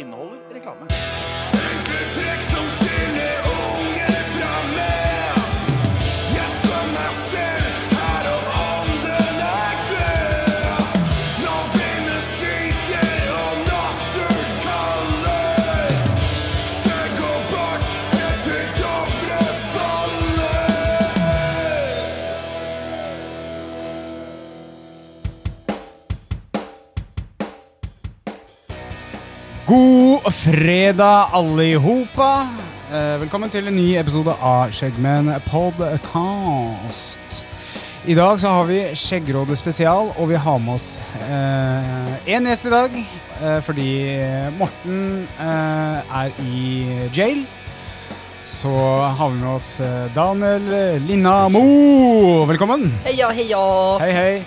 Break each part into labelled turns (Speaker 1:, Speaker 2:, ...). Speaker 1: Inneholder reklame.
Speaker 2: Enkle trekk som skiller unge fra menn. Jeg spør meg selv her om ånden er død. Nå finnes skriker og natten kaller. Skjegg og bart helt til Dovre faller.
Speaker 3: God fredag, alle i hopa. Eh, velkommen til en ny episode av Skjeggmenn podcast. I dag så har vi Skjeggrådet spesial, og vi har med oss én gjest i dag. eh, fordi Morten eh, er i jail. Så har vi med oss eh, Daniel Linnamo. Velkommen.
Speaker 4: Heia, heia!
Speaker 3: Hei, hei.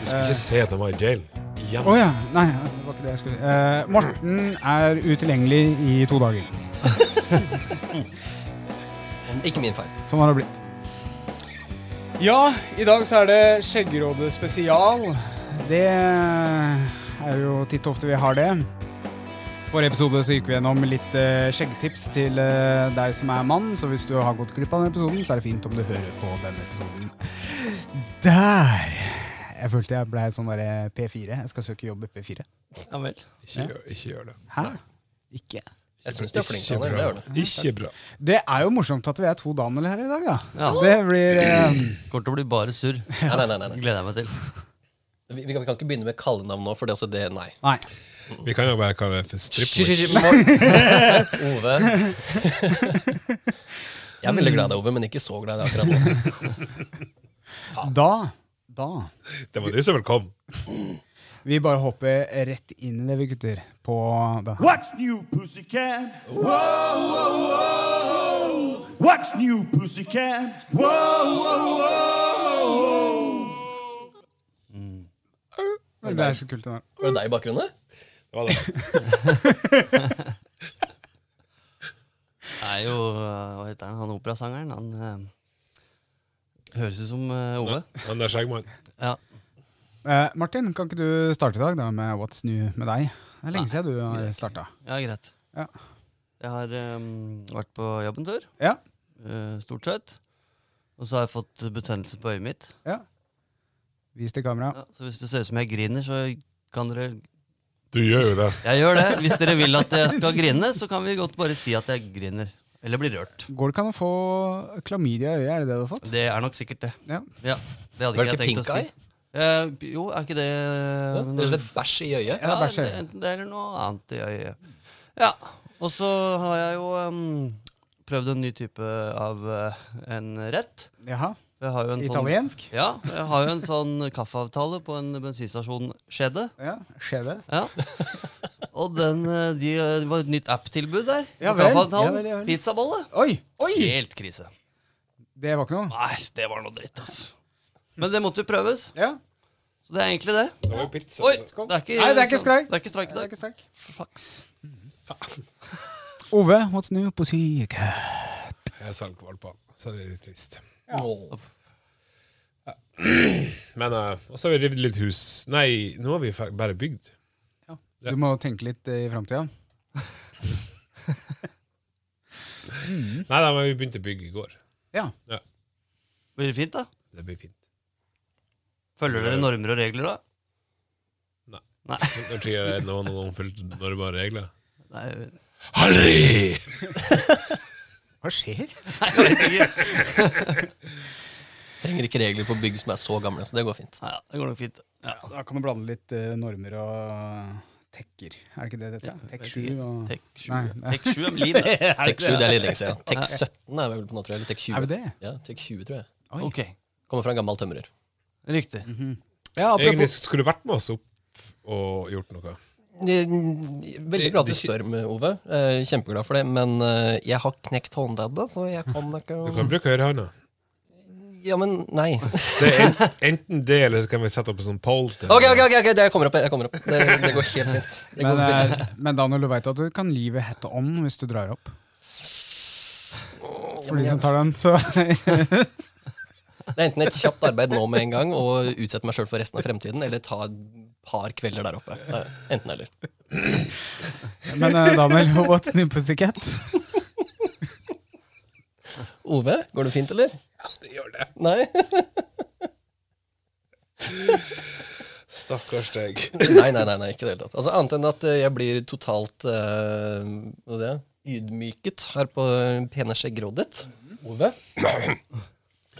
Speaker 5: Du skulle ikke se at han var i jail. Igjen.
Speaker 3: Å ja. Nei, det var ikke det jeg skulle Eh, Morten er utilgjengelig i to dager.
Speaker 4: Ikke min feil.
Speaker 3: Sånn har det blitt. Ja, i dag så er det Skjeggrådet spesial. Det er jo titt og ofte vi har det. Forrige episode så gikk vi gjennom litt eh, skjeggtips til eh, deg som er mann. Så hvis du har gått glipp av den episoden, så er det fint om du hører på den episoden. Der! Jeg følte jeg blei sånn derre P4. Jeg skal søke jobb i P4.
Speaker 4: Ja vel.
Speaker 5: Ikke, gjør, ikke gjør det.
Speaker 3: Hæ? Ikke?
Speaker 4: Jeg syns du er flink
Speaker 5: Ikke
Speaker 4: til det.
Speaker 5: bra.
Speaker 4: gjør det.
Speaker 5: Ikke bra.
Speaker 3: Det er jo morsomt at vi er to Daniel her i dag, da.
Speaker 6: Ja.
Speaker 3: Det blir eh,
Speaker 6: Kommer til å bli bare surr. Det
Speaker 4: Nei, nei, nei, nei, nei.
Speaker 6: Gleder jeg meg til.
Speaker 4: Vi, vi, kan, vi kan ikke begynne med kallenavn nå, for det, altså, det Nei.
Speaker 3: Nei.
Speaker 5: Vi kan jo bare kalle det for
Speaker 4: Hysj,
Speaker 5: stripping.
Speaker 4: hysj, Mor- Ove. Jeg er veldig glad i deg, Ove, men ikke så glad i deg akkurat nå.
Speaker 3: Da. Da.
Speaker 5: Det var du som vel kom.
Speaker 3: Vi bare hopper rett inn i det, vi gutter. På det her.
Speaker 1: What's new, pussycat? Whoa, whoa, whoa. What's new, pussycat? Whoa, whoa, whoa.
Speaker 3: Men Det er så kult. det der.
Speaker 4: Var det deg i bakgrunnen?
Speaker 5: Det var det.
Speaker 6: Det er jo eh, Hva heter han? Han operasangeren? Han eh, høres ut som eh, Ove.
Speaker 5: Han der skjeggmannen.
Speaker 6: Ja.
Speaker 3: Eh, Martin, kan ikke du starte i dag da med What's New med deg? Det er lenge siden du har starta.
Speaker 6: ja, greit.
Speaker 3: Ja.
Speaker 6: Jeg har eh, vært på jobb en tur,
Speaker 3: Ja,
Speaker 6: eh, stort sett. Og så har jeg fått betennelse på øyet mitt.
Speaker 3: ja. Vis til kamera.
Speaker 6: Ja, så hvis det ser ut som jeg griner, så kan dere
Speaker 5: Du gjør jo det.
Speaker 6: Jeg gjør det. Hvis dere vil at jeg skal grine, så kan vi godt bare si at jeg griner. Eller blir rørt.
Speaker 3: Går det ikke an å få klamydia i øyet? Er det det du har fått?
Speaker 6: Det er nok sikkert det.
Speaker 3: Ja.
Speaker 6: Ja, det hadde ikke
Speaker 4: Var
Speaker 6: jeg
Speaker 4: det ikke
Speaker 6: tenkt å
Speaker 4: pink
Speaker 6: si.
Speaker 4: eye?
Speaker 6: Eh, jo, er ikke det
Speaker 4: Ja, Rett og slett bæsj i øyet?
Speaker 3: Ja,
Speaker 6: Ja,
Speaker 3: bæsj i
Speaker 6: det,
Speaker 3: øyet.
Speaker 6: enten det eller noe annet i øyet. Ja, og så har jeg jo em, prøvd en ny type av eh, en rett.
Speaker 3: Jaha.
Speaker 6: Jeg har jo en
Speaker 3: Italiensk?
Speaker 6: Sånn, ja, jeg har jo en sånn kaffeavtale på en bensinstasjon Skjede.
Speaker 3: Ja, skjer det?
Speaker 6: Ja. Og den, eh, de, det var et nytt app-tilbud der.
Speaker 3: Ja
Speaker 6: på
Speaker 3: vel,
Speaker 6: kaffeavtalen.
Speaker 3: ja vel, ja vel.
Speaker 6: Pizzabolle.
Speaker 3: Oi! Oi!
Speaker 6: Helt krise.
Speaker 3: Det var ikke noe?
Speaker 6: Nei, det var noe dritt, ass. Men det måtte jo prøves.
Speaker 3: Ja.
Speaker 6: Så det er egentlig det.
Speaker 5: Det var jo pizza.
Speaker 6: Oi,
Speaker 5: altså.
Speaker 6: det er ikke,
Speaker 3: Nei, det er ikke streik.
Speaker 6: Det er ikke streik i
Speaker 3: Det er
Speaker 6: dag.
Speaker 3: ikke sterk.
Speaker 6: Flaks.
Speaker 3: Ove, what's new på syke?
Speaker 5: Jeg selger kvalpene, så det er litt trist.
Speaker 4: Åh.
Speaker 5: Men eh, Og så har vi revet litt hus. Nei, nå har vi fa- bare bygd.
Speaker 3: Du må tenke litt eh, i framtida.
Speaker 5: Nei da, men vi begynte å bygge i går.
Speaker 3: Ja.
Speaker 6: Blir det fint, da?
Speaker 5: Det blir fint.
Speaker 6: Følger dere normer og regler, da?
Speaker 5: Når tror jeg det er noen noen gang fulgte normale regler.
Speaker 6: Nei,
Speaker 5: Harry!
Speaker 3: Hva skjer?
Speaker 6: jeg vet ikke.
Speaker 4: Trenger ikke regler på bygg som er så gamle, så det går fint.
Speaker 6: Nei, ja, det går nok fint. Ja.
Speaker 3: Da kan du blande litt eh, normer og tekker. Er det ikke det det heter?
Speaker 6: Ja,
Speaker 3: Tek 7
Speaker 6: jeg vet ikke.
Speaker 3: og
Speaker 6: Tek 7.
Speaker 3: Nei, nei.
Speaker 6: Tek 7 er liv, det.
Speaker 4: Tek 7 det er litt lenge siden. Tek 17 er vel på nå, tror jeg. Eller Tek 20.
Speaker 3: Er vi det?
Speaker 4: Ja, Tek 20, tror jeg.
Speaker 3: Oi.
Speaker 6: Ok,
Speaker 4: Kommer fra en gammel tømrer.
Speaker 6: riktig.
Speaker 3: Ja,
Speaker 5: Egentlig
Speaker 3: apropos,
Speaker 5: skulle du vært med oss opp og gjort noe.
Speaker 4: Jeg er Eh, Veldig glad du spør, med Ove. Eh, Kjempeglad for det. Men eh, jeg har knekt håndleddet, så jeg kan ikke
Speaker 5: Du kan bruke høyrehånda.
Speaker 4: Ja, men nei. Ok,
Speaker 5: Det er en, enten det, eller så kan vi sette opp en sånn pole til
Speaker 4: ok, ok, ok, det jeg kommer opp. Jeg kommer opp. Det, det går helt fint. Det
Speaker 3: Men,
Speaker 4: går veldig-
Speaker 3: eh, men Daniel, du veit at du kan livet hette on hvis du drar opp. For de som tar den, så
Speaker 4: det er enten et kjapt arbeid nå med en gang og utsette meg sjøl for resten av fremtiden, eller ta et par kvelder der oppe. Det er Enten eller.
Speaker 3: Men eh, Daniel, what's new pussycat?
Speaker 4: Ove, går det fint, eller?
Speaker 5: Det gjør det.
Speaker 4: Nei?
Speaker 5: Stakkars deg.
Speaker 4: Nei, nei, nei, nei ikke i det hele tatt. Altså, annet enn at eh, jeg blir totalt eh, hva sier jeg, ydmyket her på eh, pene skjeggerådet ditt,
Speaker 5: Mhm.
Speaker 4: Ove.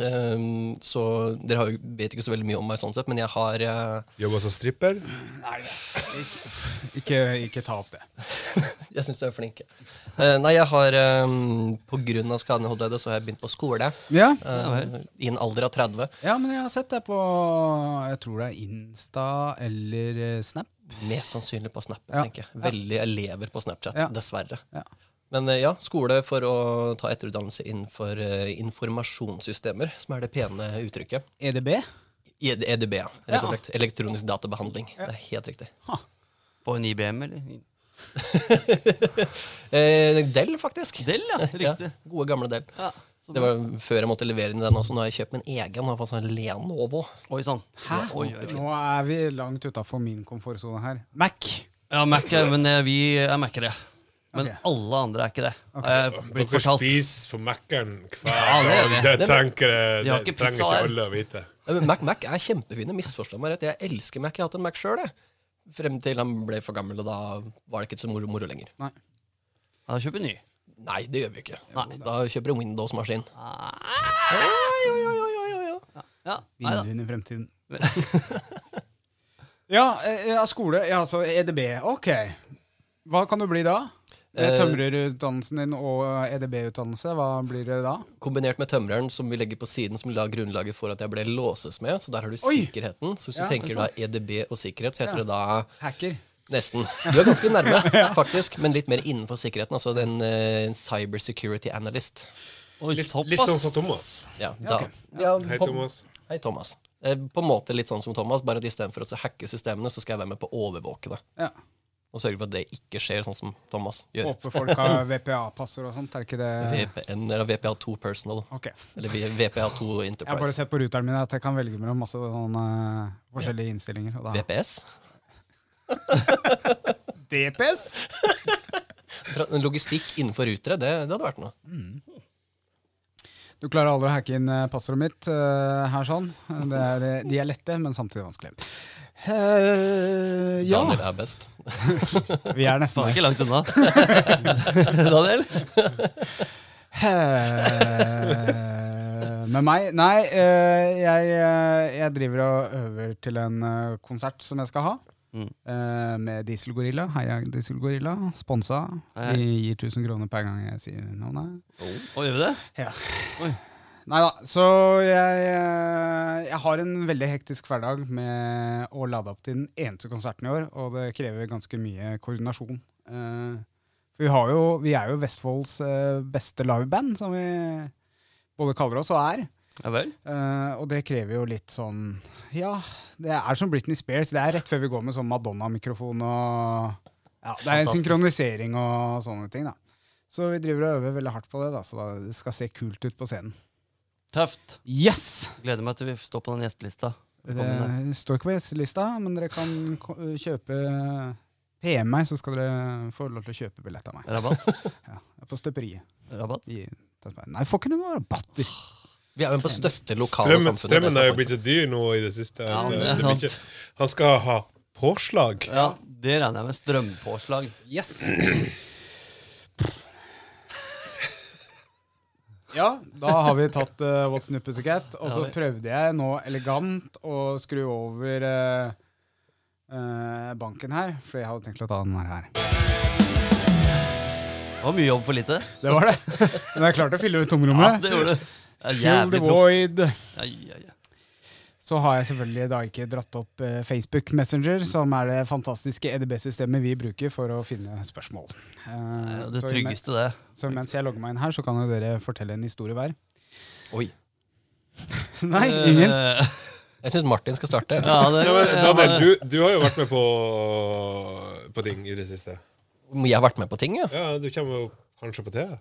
Speaker 4: Ehm, så dere har jo, vet ikke så veldig mye om meg sånn sett, men jeg har eh,
Speaker 5: Jobba som stripper.
Speaker 3: Ikke, ikke ta opp det.
Speaker 4: Jeg syns du er flink. Eh, nei, jeg har um, på grunn av skaden i hodet, så har jeg begynt på skole.
Speaker 3: Ja,
Speaker 4: eh, I en alder av 30.
Speaker 3: ja, men jeg har sett det på Jeg tror det er Insta eller eh, Snap.
Speaker 4: Mest sannsynlig på Snap.
Speaker 3: Ja.
Speaker 4: tenker jeg. Veldig elever på Snapchat,
Speaker 3: Ja.
Speaker 4: dessverre.
Speaker 3: Ja.
Speaker 4: Men eh, ja, skole for å ta etterutdannelse innenfor eh, informasjonssystemer, som er det pene uttrykket.
Speaker 3: EDB.
Speaker 4: E- EDB, ja. rett
Speaker 3: Ja.
Speaker 4: og slett. Elektronisk databehandling. Det er helt riktig.
Speaker 6: På en IBM, eller?
Speaker 4: Eh, Del, faktisk.
Speaker 6: Del, ja. Riktig.
Speaker 4: Ja, gode, gamle Del.
Speaker 6: Ja. så
Speaker 4: Det
Speaker 6: bra.
Speaker 4: var før jeg måtte levere inn den også. Nå har jeg kjøpt min egen. Har fått sånn Lenovo.
Speaker 6: Oi sann. Hæ? Oi, oi, oi.
Speaker 3: Nå er vi langt utafor min komfortsone her. Mac!
Speaker 6: Ja, Mac, er- men eh, vi er Mac-ere. Men
Speaker 3: Ok.
Speaker 6: alle andre er ikke det.
Speaker 3: Ok.
Speaker 6: Har jeg blitt
Speaker 5: Dere
Speaker 6: fortalt.
Speaker 5: spiser på Mækkern hver
Speaker 6: Ja, det gjør
Speaker 5: dag.
Speaker 6: vi.
Speaker 5: Det
Speaker 4: Det-
Speaker 5: tenker jeg
Speaker 6: Vi
Speaker 5: Det
Speaker 6: har ikke
Speaker 5: trenger
Speaker 6: pizza
Speaker 5: ikke
Speaker 6: her.
Speaker 5: alle å vite.
Speaker 4: Ja, men Mac, Mac er kjempefine. Misforstå meg rett. Jeg elsker Mac. Jeg har hatt en Mac sjøl. Frem til han ble for gammel, og da var det ikke så moro, moro lenger.
Speaker 6: Ja, da kjøper vi ny.
Speaker 4: Nei, det gjør vi ikke.
Speaker 6: Nei.
Speaker 4: Da kjøper du Windows-maskin.
Speaker 3: Ah.
Speaker 6: Ja, nei da.
Speaker 3: Vinner i fremtiden. ja, eh, ja, skole. Ja, altså EDB. Ok. Hva kan du bli da? Med
Speaker 4: Eh,
Speaker 3: Tømrerutdannelsen din og eh, EDB-utdannelse, hva blir det da?
Speaker 4: Kombinert med tømreren, som vi legger på siden, som la grunnlaget for at jeg ble låsesmed. Så der har du
Speaker 3: Oi!
Speaker 4: sikkerheten. Så hvis du
Speaker 3: Ja,
Speaker 4: tenker
Speaker 3: altså.
Speaker 4: da EDB og sikkerhet, så
Speaker 3: Ja.
Speaker 4: heter det da
Speaker 3: Hacker.
Speaker 4: Nesten. Du er ganske nærme, faktisk, men litt mer innenfor sikkerheten. Altså den eh, cyber security analyst.
Speaker 6: Oi,
Speaker 5: Litt,
Speaker 6: såpass.
Speaker 5: litt sånn som Thomas.
Speaker 4: Ja, da,
Speaker 3: ok.
Speaker 4: ja,
Speaker 5: Hei,
Speaker 4: på-
Speaker 5: Thomas.
Speaker 4: Hei, Thomas. Eh, på en måte litt sånn som Thomas, bare at istedenfor å så hacke systemene, så skal jeg være med på å overvåke det.
Speaker 3: Ja.
Speaker 4: Og sørge for at det ikke skjer sånn som Thomas gjør.
Speaker 3: Håper folk har VPA-passord og sånt, er ikke det
Speaker 4: VPN eller VPA2 Personal.
Speaker 3: Ok.
Speaker 4: Eller vi- VPA2
Speaker 3: Jeg har bare
Speaker 4: Enterprise.
Speaker 3: sett på ruteren min at jeg kan velge mellom masse sånne eh, forskjellige innstillinger. Og da.
Speaker 4: VPS?
Speaker 3: DPS?
Speaker 4: Tra- Logistikk innenfor rutere, det, det hadde vært noe.
Speaker 3: Du klarer aldri å hacke inn eh, passordet mitt eh, her sånn. Det er, eh, de er lette, men samtidig vanskelig. Eh, ja,
Speaker 4: Daniel er best.
Speaker 3: vi er nesten
Speaker 6: Det
Speaker 3: der.
Speaker 6: er ikke langt unna. Daniel?
Speaker 3: Eh, Med meg? Nei, eh, jeg, eh, jeg driver og øver til en eh, konsert som jeg skal ha.
Speaker 6: Mm.
Speaker 3: eh, Med Dieselgorilla. Heia Dieselgorilla. Sponsa.
Speaker 6: Hei.
Speaker 3: Vi gir 1000 kroner per gang jeg sier noe. Nei.
Speaker 6: Å, gjør vi det?
Speaker 3: Nei da. Så jeg, eh, jeg har en veldig hektisk hverdag med å lade opp til den eneste konserten i år, og det krever ganske mye koordinasjon. Eh, For vi, har jo, vi er jo Vestfolds eh, beste liveband, som vi både kaller oss og er.
Speaker 6: Ja vel?
Speaker 3: Eh, og det krever jo litt sånn Ja, det er som Britney Spears. Det er rett før vi går med sånn Madonna-mikrofon og ja, Det er en
Speaker 4: Fantastisk.
Speaker 3: synkronisering og sånne ting, da. Så vi driver og øver veldig hardt på det, da, så da, det skal se kult ut på scenen.
Speaker 6: Tøft.
Speaker 3: Yes!
Speaker 6: Gleder meg til vi står på den gjestelista. Velkommen
Speaker 3: Det står ikke på gjestelista, men dere kan ko- kjøpe PM meg, så skal dere få lov til å kjøpe billett av meg.
Speaker 6: Rabatt.
Speaker 3: På støperiet.
Speaker 6: Rabatt.
Speaker 3: I Tønsberg. Nei, får ikke noen rabatter!
Speaker 4: Vi er jo på største lokale
Speaker 5: Strømmen,
Speaker 4: samfunnet.
Speaker 5: strømmen er jo blitt så dyr nå i det siste.
Speaker 6: Ja,
Speaker 5: at,
Speaker 6: det
Speaker 5: eh,
Speaker 6: er
Speaker 5: det blir
Speaker 6: sant.
Speaker 5: ikke, han skal ha påslag.
Speaker 6: Ja, det regner jeg med. Strømpåslag.
Speaker 3: Yes! Ja, da har vi tatt eh, What's New Pussycat, og så
Speaker 6: Ja, vi-
Speaker 3: prøvde jeg nå elegant å skru over eh, eh, banken her, for jeg hadde tenkt å ta den her.
Speaker 6: Det var mye jobb for lite.
Speaker 3: Det var det. Men jeg klarte å fylle ut
Speaker 6: Ja,
Speaker 3: tomrommet.
Speaker 6: det gjorde du. Det er
Speaker 3: Fill
Speaker 6: Jævlig
Speaker 3: the
Speaker 6: proft.
Speaker 3: void.
Speaker 6: Ja, ja, ja.
Speaker 3: Så har jeg selvfølgelig da ikke dratt opp eh, Facebook Messenger, som er det fantastiske EDB-systemet vi bruker for å finne spørsmål. Eh,
Speaker 6: Eh, Det
Speaker 3: så imen-
Speaker 6: tryggeste, det.
Speaker 3: Så mens jeg logger meg inn her, så kan jo dere fortelle en historie hver.
Speaker 4: Oi.
Speaker 3: Nei, ingen.
Speaker 6: Eh,
Speaker 4: Jeg syns Martin skal starte.
Speaker 6: Ja, det,
Speaker 5: Ja, men, Daniel,
Speaker 6: jeg har-
Speaker 5: du, du har jo vært med på, på ting i det siste.
Speaker 4: Jeg har vært med på ting, ja.
Speaker 5: Ja, Du kommer jo kanskje på TV?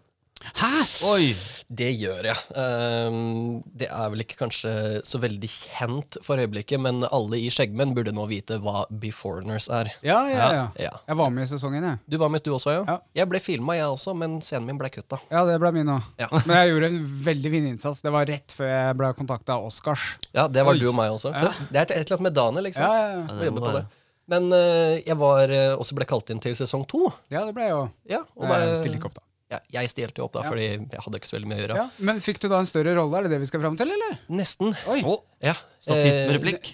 Speaker 6: Oi!
Speaker 4: Det gjør jeg. Ehm, det er vel ikke kanskje så veldig kjent for øyeblikket, men alle i Skjeggmenn burde nå vite hva Beforeigners er.
Speaker 3: Ja, ja, ja.
Speaker 4: Ja.
Speaker 3: Jeg var med i sesongen, jeg.
Speaker 4: Du var med du også, ja?
Speaker 3: Ja.
Speaker 4: Jeg ble filma, jeg også, men scenen min ble kutta.
Speaker 3: Ja, det ble min òg.
Speaker 4: Ja.
Speaker 3: Men jeg gjorde en veldig fin innsats. Det var rett før jeg ble kontakta av Oscars.
Speaker 4: Ja, det var du og meg også. Så det er et eller annet med Daniel, ikke sant?
Speaker 3: Ja, ja, ja.
Speaker 4: Må
Speaker 6: Ja, det må
Speaker 4: jobbe på
Speaker 6: være.
Speaker 4: det. Men eh, jeg var eh, også ble kalt inn til sesong to.
Speaker 3: Ja, det ble jeg òg.
Speaker 4: Ja, og
Speaker 3: Nei,
Speaker 4: da-
Speaker 3: jeg stilte ikke opp, da.
Speaker 4: Ja, jeg stilte jo opp da,
Speaker 3: Ja.
Speaker 4: fordi jeg hadde ikke så veldig mye å gjøre.
Speaker 3: Ja. Men fikk du da en større rolle? Er det det vi skal fram til, eller?
Speaker 4: Nesten.
Speaker 3: Oi.
Speaker 4: Å, ja.
Speaker 6: Statist med
Speaker 4: Eh,
Speaker 6: replikk.